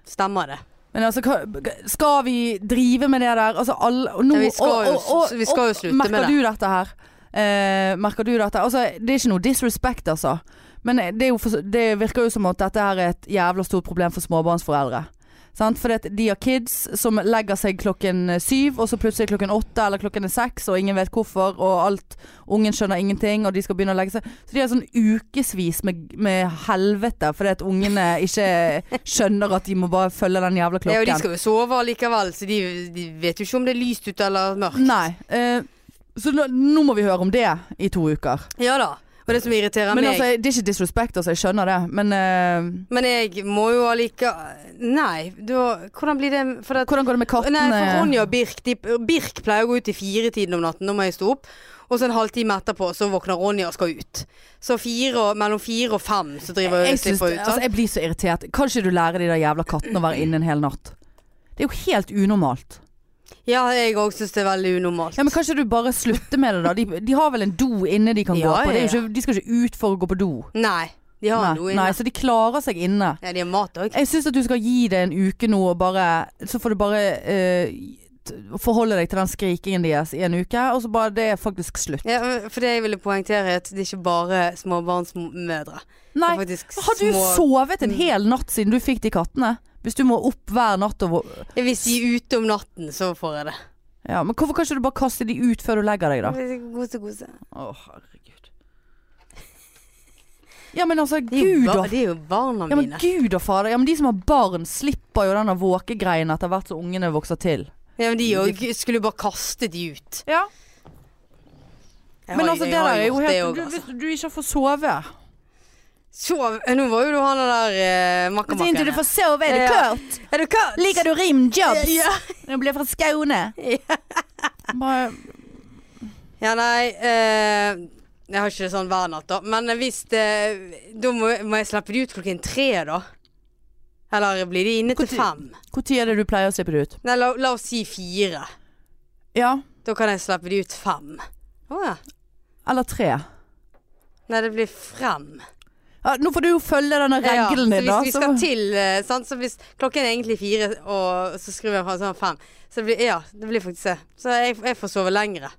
Speaker 2: stemmer det.
Speaker 1: Men altså, hva- skal vi drive med det der? Altså, alle, og nå,
Speaker 2: Ja, vi skal
Speaker 1: og,
Speaker 2: jo-
Speaker 1: og, og,
Speaker 2: vi skal jo slutte med
Speaker 1: merker
Speaker 2: det.
Speaker 1: Du dette her? Eh, merker du dette? Altså, det er ikke noe disrespect, altså. Men det, er jo for, det virker jo som at dette her er et jævla stort problem for småbarnsforeldre. Sant? Fordi at de har kids som legger seg klokken eh, syv, og så plutselig klokken åtte eller klokken er seks, og ingen vet hvorfor, og alt Ungen skjønner ingenting, og de skal begynne å legge seg. Så de har sånn ukevis med, med helvete fordi at ungene ikke skjønner at de må bare følge den jævla klokken.
Speaker 2: Ja, og de skal jo sove allikevel, så de, de vet jo ikke om det er lyst ute eller mørkt.
Speaker 1: Nei. eh, så nå, nå må vi høre om det i to uker.
Speaker 2: Ja da. Og det som irriterer
Speaker 1: Men
Speaker 2: meg
Speaker 1: altså, Det er ikke disrespect, altså. Jeg skjønner det. Men eh,
Speaker 2: Men jeg må jo allikevel Nei, da Hvordan blir det For at
Speaker 1: hvordan går det med kattene?
Speaker 2: Nei, for Ronja og Birk de, Birk pleier å gå ut i firetiden om natten, nå må jeg stå opp. Og så en halvtime etterpå så våkner Ronja og skal ut. Så fire og, mellom fire og fem så driver hun
Speaker 1: jeg,
Speaker 2: og
Speaker 1: syns,
Speaker 2: slipper ut.
Speaker 1: altså,
Speaker 2: sant?
Speaker 1: jeg blir så irritert. Kan ikke du lære de der jævla kattene å være inne en hel natt? Det er jo helt unormalt.
Speaker 2: ja, jeg òg syns det er veldig unormalt.
Speaker 1: Ja, men Kan ikke du bare slutte med det, da? De, de har vel en do inne de kan
Speaker 2: Ja,
Speaker 1: gå på? Det er jo
Speaker 2: ja, ja.
Speaker 1: ikke, de skal ikke ut for å gå på do.
Speaker 2: Nei, de har noe
Speaker 1: Nei,
Speaker 2: inne.
Speaker 1: nei, så de klarer seg inne.
Speaker 2: Ja, de har mat òg.
Speaker 1: Jeg syns at du skal gi det en uke nå, og bare Så får du bare eh, t- forholde deg til den skrikingen deres i en uke, og så bare Det er faktisk slutt.
Speaker 2: Ja, for det jeg ville poengtere, er at det er ikke bare småbarnsmødre.
Speaker 1: Nei,
Speaker 2: Det er faktisk
Speaker 1: har du
Speaker 2: små- Mm.
Speaker 1: sovet en hel natt siden du fikk de kattene? Hvis du må opp hver natt og
Speaker 2: Ja, Hvis de er ute om natten, så får jeg det.
Speaker 1: Ja, men hvorfor kan ikke du bare kaste de ut før du legger deg, da?
Speaker 2: Kose, kose.
Speaker 1: Å, herregud. Ja, men altså,
Speaker 2: Det er jo,
Speaker 1: gud
Speaker 2: bar-
Speaker 1: og
Speaker 2: det er jo barna
Speaker 1: ja, men
Speaker 2: mine.
Speaker 1: gud og fader. Ja, men de som har barn, slipper jo denne våkegreien etter hvert som ungene vokser til.
Speaker 2: Ja, men de òg skulle jo bare kaste de ut.
Speaker 1: Ja,
Speaker 2: Jeg
Speaker 1: men
Speaker 2: har-
Speaker 1: altså,
Speaker 2: jeg
Speaker 1: det
Speaker 2: har
Speaker 1: der er jo
Speaker 2: gjort det
Speaker 1: helt
Speaker 2: også,
Speaker 1: du,
Speaker 2: altså.
Speaker 1: Hvis du ikke får sove
Speaker 2: Sov Eh, Nå var jo du han der eh,
Speaker 1: Siden du
Speaker 2: makkermakkeren.
Speaker 1: får sove, er det
Speaker 2: Ja.
Speaker 1: klart.
Speaker 2: Er du katt?
Speaker 1: Liker du rimjobs?
Speaker 2: Ja.
Speaker 1: Du blir fra Skåne. Bare-
Speaker 2: Ja, nei eh, Jeg har ikke det sånn hver natt, da. Men hvis det Da må, må jeg slippe de ut klokken tre, da. Eller blir de inne til
Speaker 1: Hvor tid-
Speaker 2: fem?
Speaker 1: Hvor tid er det du pleier å slippe det ut?
Speaker 2: Nei, la, la oss si fire.
Speaker 1: Ja,
Speaker 2: Da kan jeg slippe de ut fem. Å ja.
Speaker 1: eller tre.
Speaker 2: Nei, det blir frem.
Speaker 1: Ja, nå får du jo følge denne
Speaker 2: Ja,
Speaker 1: regelen din, da.
Speaker 2: Så hvis vi
Speaker 1: så-
Speaker 2: skal til eh, sant? Så hvis klokken er egentlig fire, og så skriver jeg fra sånn fem Så det blir, ja, det blir faktisk det. Så jeg, jeg får sove lengre.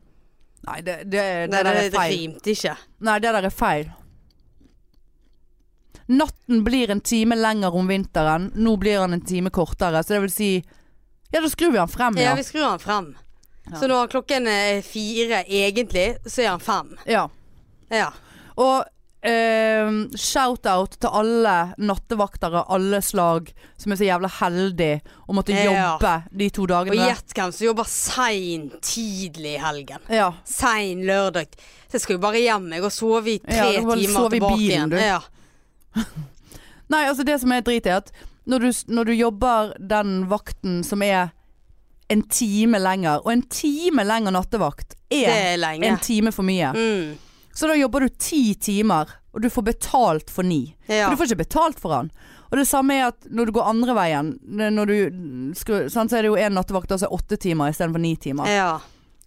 Speaker 1: Nei, det, det, det,
Speaker 2: Nei, det,
Speaker 1: der er
Speaker 2: det
Speaker 1: feil.
Speaker 2: rimte ikke.
Speaker 1: Nei, det der er feil. Natten blir en time lenger om vinteren. Nå blir han en time kortere. Så det vil si Ja, da skrur vi han frem,
Speaker 2: Ja,
Speaker 1: Mm. ja.
Speaker 2: vi skrur den frem.
Speaker 1: Ja.
Speaker 2: Så når klokken er fire egentlig, så er den fem.
Speaker 1: ja.
Speaker 2: Ja.
Speaker 1: Og eh, shout-out til alle nattevaktere av alle slag som er så jævla heldige å måtte
Speaker 2: Ja.
Speaker 1: jobbe de to
Speaker 2: Og
Speaker 1: dagene.
Speaker 2: gjett hvem som jobber sein tidlig i helgen.
Speaker 1: Ja.
Speaker 2: Sein lørdag. Så jeg skal jo bare hjem jeg og sove i tre
Speaker 1: Ja, du må bare
Speaker 2: timer
Speaker 1: sove i
Speaker 2: tilbake
Speaker 1: bilen,
Speaker 2: igjen.
Speaker 1: du.
Speaker 2: Ja.
Speaker 1: Nei, altså det som er drit er at når du, når du jobber den vakten som er en time lenger, og en time lenger nattevakt
Speaker 2: Det
Speaker 1: er
Speaker 2: er lenge.
Speaker 1: en time for mye,
Speaker 2: Mm.
Speaker 1: så da jobber du ti timer, og du får betalt for ni.
Speaker 2: Ja.
Speaker 1: For du får ikke betalt for han. Og det samme er at når du går andre veien, når du, skru, sant, så er det jo en nattevakt som er åtte timer istedenfor ni timer.
Speaker 2: Ja.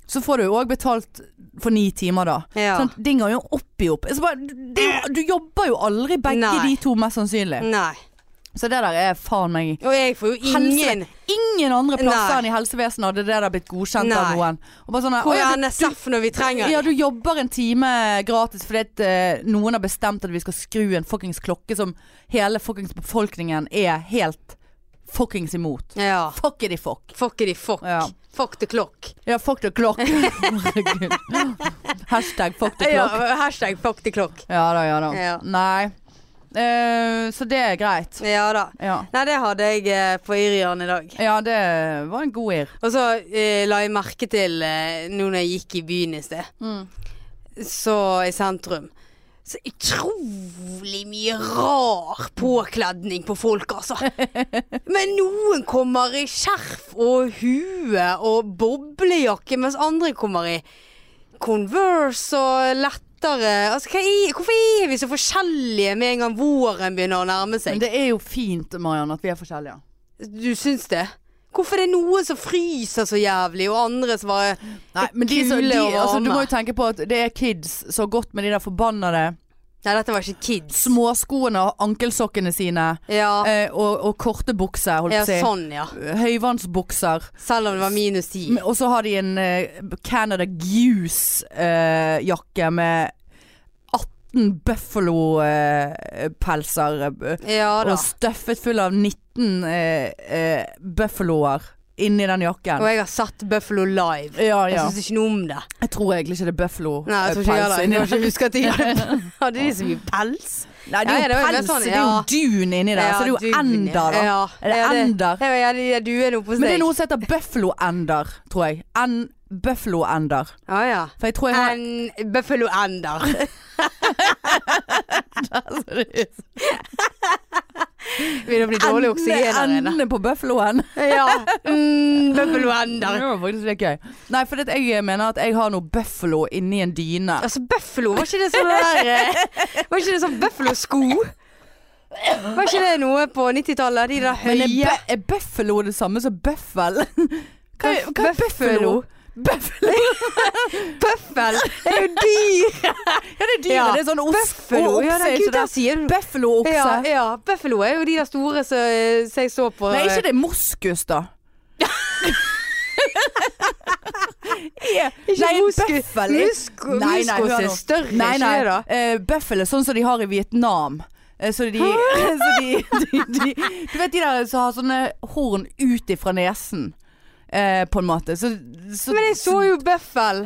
Speaker 1: Så får du jo òg betalt for ni timer da.
Speaker 2: ja.
Speaker 1: Sant? det går jo opp i opp. Så bare, det, er jo- du jobber jo aldri begge
Speaker 2: Nei. Mm.
Speaker 1: de to, mest sannsynlig.
Speaker 2: Nei.
Speaker 1: Så det der er faen meg
Speaker 2: Og jeg får jo ingen
Speaker 1: Ingen andre plasser
Speaker 2: Nei.
Speaker 1: enn i helsevesenet hadde det der blitt godkjent av
Speaker 2: Nei.
Speaker 1: noen. Og bare sånn
Speaker 2: Hvor
Speaker 1: «Å ja,
Speaker 2: er
Speaker 1: du-
Speaker 2: NSF når vi trenger
Speaker 1: Ja,
Speaker 2: det?
Speaker 1: du jobber en time gratis fordi at eh, noen har bestemt at vi skal skru en fuckings klokke som hele fuckings befolkningen er helt fuckings imot.
Speaker 2: Ja.
Speaker 1: Fuck it, fuck.
Speaker 2: Fuck it, fuck.
Speaker 1: Ja.
Speaker 2: Fuck the clock.
Speaker 1: Ja, fuck the clock. Herregud. Hashtag fuck the
Speaker 2: Ja,
Speaker 1: clock.
Speaker 2: hashtag fuck the clock.
Speaker 1: Ja da, ja da.
Speaker 2: Ja.
Speaker 1: Nei. Eh, så det er greit.
Speaker 2: Ja da.
Speaker 1: Ja.
Speaker 2: Nei, det hadde jeg eh, på Irian i dag.
Speaker 1: ja, det var en god irr.
Speaker 2: Og så eh, la jeg merke til, eh, nå når jeg gikk i byen i sted, så i sentrum Så utrolig mye rar påkledning på folk, altså. Men noen kommer i skjerf og hue og boblejakke, mens andre kommer i Converse og lettere altså, hva er, Hvorfor er vi så forskjellige med en gang våren begynner å nærme seg?
Speaker 1: Men det er jo fint, Mariann, at vi er forskjellige.
Speaker 2: Du syns det? Hvorfor er det noen som fryser så jævlig, og andre som bare
Speaker 1: Nei, men de, som- de,
Speaker 2: Kule og varme.
Speaker 1: altså, du må jo tenke på at det er kids så godt med de der forbannede
Speaker 2: Nei, dette var ikke kids.
Speaker 1: småskoene og ankelsokkene sine.
Speaker 2: Ja,
Speaker 1: Eh, og, og korte bukser, holdt
Speaker 2: ja
Speaker 1: jeg på å si.
Speaker 2: sånn, ja.
Speaker 1: Høyvannsbukser.
Speaker 2: Selv om det var minus ti.
Speaker 1: Men- Og så har de en eh, Canada Goose-jakke med 18 eh, buffalo-pelser.
Speaker 2: Ja da.
Speaker 1: og stuffet full av 19 eh, eh, buffaloer inni den
Speaker 2: Og
Speaker 1: jakken.
Speaker 2: jeg har sett Buffalo live.
Speaker 1: Ja, Eh,
Speaker 2: Jeg
Speaker 1: ja.
Speaker 2: syns ikke noe om det.
Speaker 1: Jeg tror egentlig ikke det er
Speaker 2: Nei, jeg tror ikke jeg
Speaker 1: buffalo-pels
Speaker 2: heller.
Speaker 1: inni
Speaker 2: Jeg har ikke husket at de hadde Hadde de så mye pels?
Speaker 1: Nei, det er
Speaker 2: Ja,
Speaker 1: jo
Speaker 2: det var jo
Speaker 1: pels,
Speaker 2: sånn,
Speaker 1: det er
Speaker 2: ja.
Speaker 1: jo dun inni der. så det er jo ender, da.
Speaker 2: Ja,
Speaker 1: Er det
Speaker 2: ja,
Speaker 1: ender?
Speaker 2: Ja, ja, de er duene oppå
Speaker 1: Men det er
Speaker 2: seg.
Speaker 1: noe som heter buffalo-ender, tror jeg. En buffalo-ender.
Speaker 2: Ja, ja.
Speaker 1: For jeg tror jeg har
Speaker 2: En Buffalo ender. Begynner å bli dårlig oksygen her inne.
Speaker 1: endene på buffaloen.
Speaker 2: Ja. Mm, Buffalo ender.
Speaker 1: Det var faktisk litt gøy. Nei, for det, jeg mener at jeg har noe buffalo inni en dyne.
Speaker 2: Altså, Buffalo, var ikke det sånn der eh, Var ikke det sånn Buffalo-sko? Var ikke det noe på 90-tallet? De der
Speaker 1: Men
Speaker 2: høye
Speaker 1: er, bu er buffalo det samme som bøffel? Hva er, hva er buffalo?
Speaker 2: Buffalo.
Speaker 1: Buffalo?
Speaker 2: Bøffel! Det er jo dyr!
Speaker 1: Ja, det er dyret.
Speaker 2: Ja.
Speaker 1: Det er sånn ost
Speaker 2: Buffalo.
Speaker 1: og okse.
Speaker 2: Ja,
Speaker 1: er
Speaker 2: det,
Speaker 1: ikke
Speaker 2: gud, der
Speaker 1: det?
Speaker 2: sier du
Speaker 1: Buffalo-okse.
Speaker 2: ja, ja, Buffalo er jo de der store som eh, som jeg så på
Speaker 1: Nei, ikke
Speaker 2: eh,
Speaker 1: det moskus, da. Er-
Speaker 2: Ikke
Speaker 1: nei,
Speaker 2: musku-
Speaker 1: bøffel er-
Speaker 2: musko- muskos er større,
Speaker 1: nei,
Speaker 2: ikke
Speaker 1: nei.
Speaker 2: det da?
Speaker 1: Eh, bøffel er sånn som de har i Vietnam. Eh, Så de, så de, de, de Du vet de der som har sånne horn ut ifra nesen, eh, på en måte. Så, så
Speaker 2: Men jeg så jo Buffel.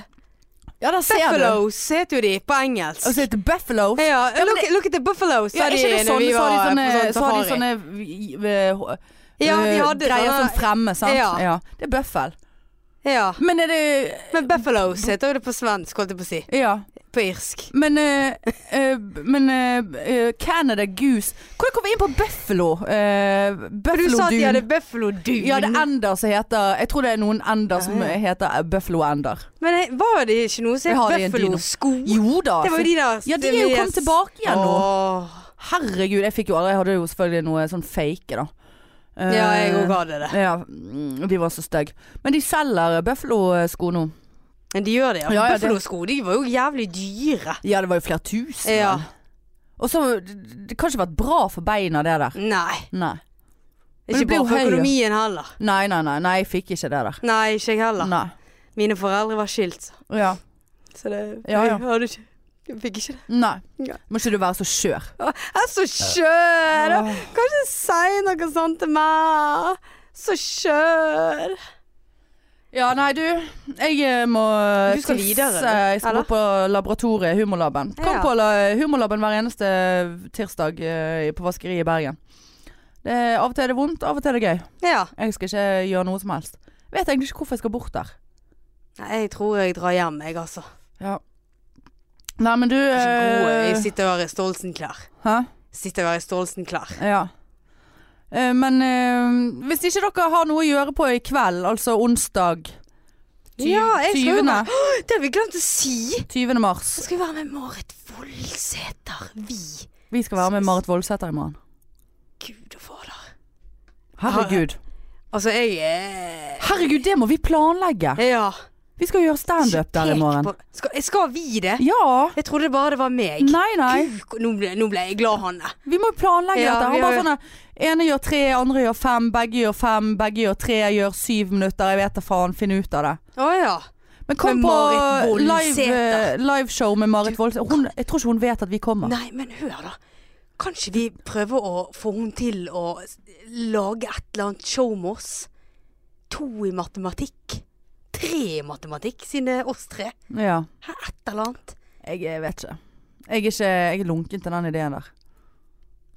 Speaker 1: Ja, der ser du.
Speaker 2: Buffalos heter jo de på engelsk.
Speaker 1: Og så heter det buffalo.
Speaker 2: ja, look, look at the buffaloes,
Speaker 1: Ja,
Speaker 2: sa
Speaker 1: er
Speaker 2: de
Speaker 1: ikke det
Speaker 2: når
Speaker 1: sånn?
Speaker 2: vi
Speaker 1: Så
Speaker 2: var
Speaker 1: har de sånne,
Speaker 2: på sånn
Speaker 1: så har de
Speaker 2: safari.
Speaker 1: sånne v- v-
Speaker 2: ja, de
Speaker 1: eh,
Speaker 2: hadde
Speaker 1: greier
Speaker 2: sånne,
Speaker 1: som fremme, sant?
Speaker 2: Ja.
Speaker 1: ja. Det er bøffel.
Speaker 2: ja.
Speaker 1: Men er det
Speaker 2: Men Buffaloes heter jo det på svensk, holdt jeg på å si.
Speaker 1: Ja.
Speaker 2: på irsk.
Speaker 1: Men, eh, eh, men eh, eh, Canada Goose Hvordan kom vi inn på Buffalo? Eh,
Speaker 2: Du
Speaker 1: Buffalo
Speaker 2: sa at de hadde
Speaker 1: Dune.
Speaker 2: Buffalo Dune.
Speaker 1: Ja, det er ender som heter Jeg tror det er noen ender som
Speaker 2: Ja, ja.
Speaker 1: heter eh, Buffalo Ender.
Speaker 2: Men eh, var det ikke noe som
Speaker 1: Jeg har de i
Speaker 2: het
Speaker 1: en dino.
Speaker 2: Buffalo-sko?
Speaker 1: Jo da.
Speaker 2: Det var jo de der
Speaker 1: Ja, de er jo kommet tilbake igjen nå.
Speaker 2: Åh.
Speaker 1: Herregud, jeg fikk jo aldri Jeg hadde jo selvfølgelig noe sånn fake, da. Eh,
Speaker 2: Ja, jeg òg hadde det.
Speaker 1: Ja, mm, de var så stygge. Men de selger eh, Buffalo-sko nå.
Speaker 2: Men de gjør det, ja.
Speaker 1: Ja, ja, det-
Speaker 2: Buffalo-sko de var jo jævlig dyre.
Speaker 1: Ja, det var jo flere tusen.
Speaker 2: Ja.
Speaker 1: vel. Og så Det det kan ikke vært bra for beina, det der.
Speaker 2: Nei.
Speaker 1: Nei. Men
Speaker 2: Ikke
Speaker 1: det blir
Speaker 2: bra
Speaker 1: jo
Speaker 2: for
Speaker 1: høy, ja.
Speaker 2: økonomien heller.
Speaker 1: Nei, nei, nei. nei jeg fikk ikke det der.
Speaker 2: Nei, ikke jeg heller.
Speaker 1: Nei.
Speaker 2: Mine foreldre var skilt, så-
Speaker 1: Ja.
Speaker 2: så det
Speaker 1: Ja, ja.
Speaker 2: Jeg, hadde ikke, jeg fikk ikke det.
Speaker 1: Nei.
Speaker 2: Ja.
Speaker 1: Må ikke du være så skjør.
Speaker 2: Jeg er så skjør!
Speaker 1: Åh.
Speaker 2: Kanskje si noe sånt til meg. Så skjør.
Speaker 1: Ja, nei, du. Jeg eh, må
Speaker 2: Du skal
Speaker 1: tisse.
Speaker 2: videre, du,
Speaker 1: Jeg skal
Speaker 2: eller?
Speaker 1: gå på laboratoriet Humorlaben. Kom
Speaker 2: Ja.
Speaker 1: på la- eh, Humorlaben hver eneste tirsdag eh, på vaskeriet i Bergen. Det er, av og til er det vondt, av og til er det gøy.
Speaker 2: Ja.
Speaker 1: Jeg skal ikke gjøre noe som helst. Jeg vet egentlig ikke hvorfor jeg skal bort der.
Speaker 2: Nei, jeg tror jeg drar hjem, jeg, altså.
Speaker 1: Ja. Nei, men du
Speaker 2: Jeg, er ikke god. jeg
Speaker 1: eh,
Speaker 2: sitter her i Stolsen-klær.
Speaker 1: Hæ?
Speaker 2: Sitter her i Stolsen-klær.
Speaker 1: Ja. Eh, Men eh, hvis ikke dere har noe å gjøre på i kveld, altså onsdag ty-
Speaker 2: Ja, jeg skal jo
Speaker 1: 20.
Speaker 2: være- Det har vi glemt å si!
Speaker 1: 20. mars.
Speaker 2: Så skal vi være med Marit Voldsæter. Vi.
Speaker 1: Vi skal være med Marit Voldsæter i morgen.
Speaker 2: Gud og fader.
Speaker 1: Herregud.
Speaker 2: Altså, jeg eh, er
Speaker 1: Herregud, det må vi planlegge.
Speaker 2: Ja.
Speaker 1: Vi skal gjøre standup der i
Speaker 2: pek
Speaker 1: morgen.
Speaker 2: på- Skal, skal vi det?
Speaker 1: Ja.
Speaker 2: Jeg trodde bare det var meg.
Speaker 1: Nei, nei.
Speaker 2: Gud, nå ble, nå ble jeg glad, Hanne.
Speaker 1: Vi må jo planlegge
Speaker 2: Ja,
Speaker 1: dette. Han
Speaker 2: vi
Speaker 1: bare
Speaker 2: har-
Speaker 1: sånn Ene gjør tre, andre gjør fem, begge gjør fem, begge gjør tre, gjør syv minutter. Jeg vet da faen. Finn ut av det.
Speaker 2: Å ja.
Speaker 1: Men kom
Speaker 2: Med
Speaker 1: på
Speaker 2: Marit
Speaker 1: live,
Speaker 2: Voldsæter.
Speaker 1: eh, liveshow med Marit Voldsæter. Hun- Jeg tror ikke hun vet at vi kommer.
Speaker 2: Nei, men hør da. Kanskje vi prøver å få henne til å s- lage et eller annet show med oss? To i matematikk. Tre i matematikk, siden det er oss tre.
Speaker 1: Ja.
Speaker 2: Hæ, Et eller annet.
Speaker 1: Jeg, jeg vet ikke. Jeg er ikke jeg er lunken til den ideen der.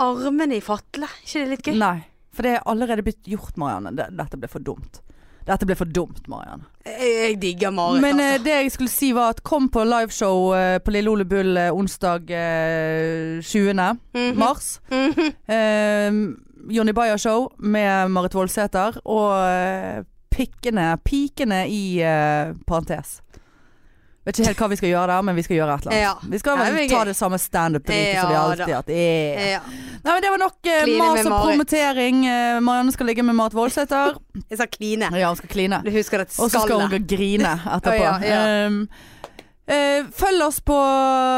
Speaker 2: Armene i fatle. ikke det litt gøy?
Speaker 1: Nei. For det er allerede blitt gjort, Marianne. Det- Dette ble for dumt. Dette ble for dumt, Marianne.
Speaker 2: Jeg, jeg digger Marit,
Speaker 1: Men eh, det
Speaker 2: altså.
Speaker 1: jeg skulle si var at kom på liveshow eh, på Lille Ole Bull eh, onsdag eh, 20.
Speaker 2: Mhm.
Speaker 1: mars.
Speaker 2: Mhm.
Speaker 1: Eh, Jonny Bayer-show med Marit Voldsæter og eh, pikkene, pikene i eh, parentes. Vet ikke helt hva vi skal gjøre der, men vi skal gjøre et eller annet.
Speaker 2: Ja.
Speaker 1: Vi skal
Speaker 2: Nei,
Speaker 1: vel
Speaker 2: men
Speaker 1: ta
Speaker 2: gøy.
Speaker 1: det samme standup-dritet som vi
Speaker 2: Ja,
Speaker 1: alltid har hatt. Yeah.
Speaker 2: Ja.
Speaker 1: Nei, men Det var nok eh,
Speaker 2: Kline
Speaker 1: mas
Speaker 2: med
Speaker 1: og
Speaker 2: Marit.
Speaker 1: promotering. Eh, Marianne skal ligge med Marit Voldsæter.
Speaker 2: Jeg sa kline.
Speaker 1: Ja, hun skal kline.
Speaker 2: Du husker det
Speaker 1: Og så skal hun
Speaker 2: skallet.
Speaker 1: grine etterpå.
Speaker 2: Å, ja, ja.
Speaker 1: Um, eh, følg oss på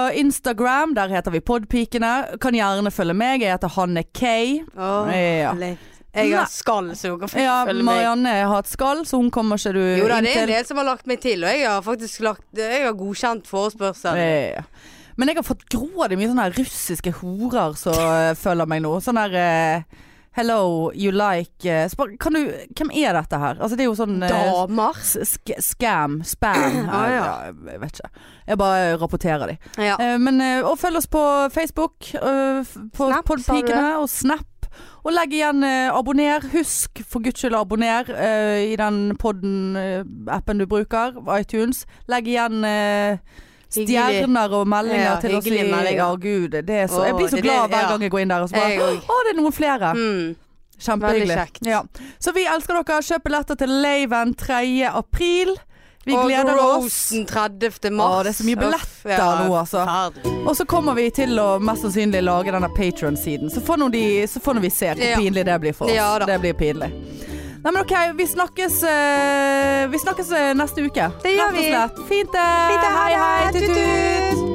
Speaker 1: Instagram. Der heter vi Podpikene. Kan gjerne følge meg. Jeg heter Hanne K.
Speaker 2: Åh,
Speaker 1: Ja.
Speaker 2: le- Jeg
Speaker 1: Nei.
Speaker 2: har skall, så dere får
Speaker 1: Ja,
Speaker 2: følge meg.
Speaker 1: Marianne har et skall, så hun kommer ikke du
Speaker 2: Jo da,
Speaker 1: inn
Speaker 2: det er en
Speaker 1: til.
Speaker 2: del som har lagt meg til, og jeg har faktisk lagt, jeg har godkjent forespørsel.
Speaker 1: Ja. Men jeg har fått grådig mye sånne her russiske horer som eh, følger meg nå. Sånn her eh, Hello, you like eh, spør- Kan du Hvem er dette her? Altså, det er jo sånn eh,
Speaker 2: Damer.
Speaker 1: s- sk Scam, spam
Speaker 2: Ah, ja.
Speaker 1: Ja, Jeg vet ikke. Jeg bare rapporterer de.
Speaker 2: Ja.
Speaker 1: Eh, Men, eh, og følg oss på Facebook, eh, f- på
Speaker 2: Snap,
Speaker 1: Podpikene og Snap. Og legg igjen eh, abonner. Husk for guds skyld å abonnere eh, i den podden-appen du bruker, iTunes. Legg igjen eh,
Speaker 2: Hyggelig.
Speaker 1: stjerner og meldinger
Speaker 2: Ja,
Speaker 1: til oss.
Speaker 2: hyggelige
Speaker 1: i-
Speaker 2: meldinger.
Speaker 1: Ja, gud. Det er så, jeg
Speaker 2: Åh,
Speaker 1: blir så
Speaker 2: det er
Speaker 1: glad
Speaker 2: det-
Speaker 1: hver
Speaker 2: ja.
Speaker 1: gang jeg går inn der og så bare
Speaker 2: Jeg òg.
Speaker 1: Å, det er noen flere.
Speaker 2: Mm.
Speaker 1: Kjempehyggelig.
Speaker 2: veldig kjekt.
Speaker 1: Ja. Så vi elsker dere. Kjøp billetter til Laven 3. april. Vi gleder oss.
Speaker 2: Rosen 30. mars.
Speaker 1: Å, det er så mye
Speaker 2: Uff,
Speaker 1: billetter nå, altså.
Speaker 2: forferdelig.
Speaker 1: Og så kommer vi til å mest sannsynlig lage denne Patron-siden. Så, får nå de- så får nå vi se hvor
Speaker 2: Ja.
Speaker 1: pinlig det blir for oss.
Speaker 2: Ja da.
Speaker 1: det blir pinlig. Nei, men OK, vi snakkes, eh, vi snakkes eh, neste uke.
Speaker 2: Det
Speaker 1: Rett
Speaker 2: gjør
Speaker 1: og
Speaker 2: vi.
Speaker 1: slett. Fint det.
Speaker 2: Fint det. Ha
Speaker 1: Hei,
Speaker 2: det.
Speaker 1: hei.
Speaker 2: Tut,
Speaker 1: Tut-tut.
Speaker 2: tut.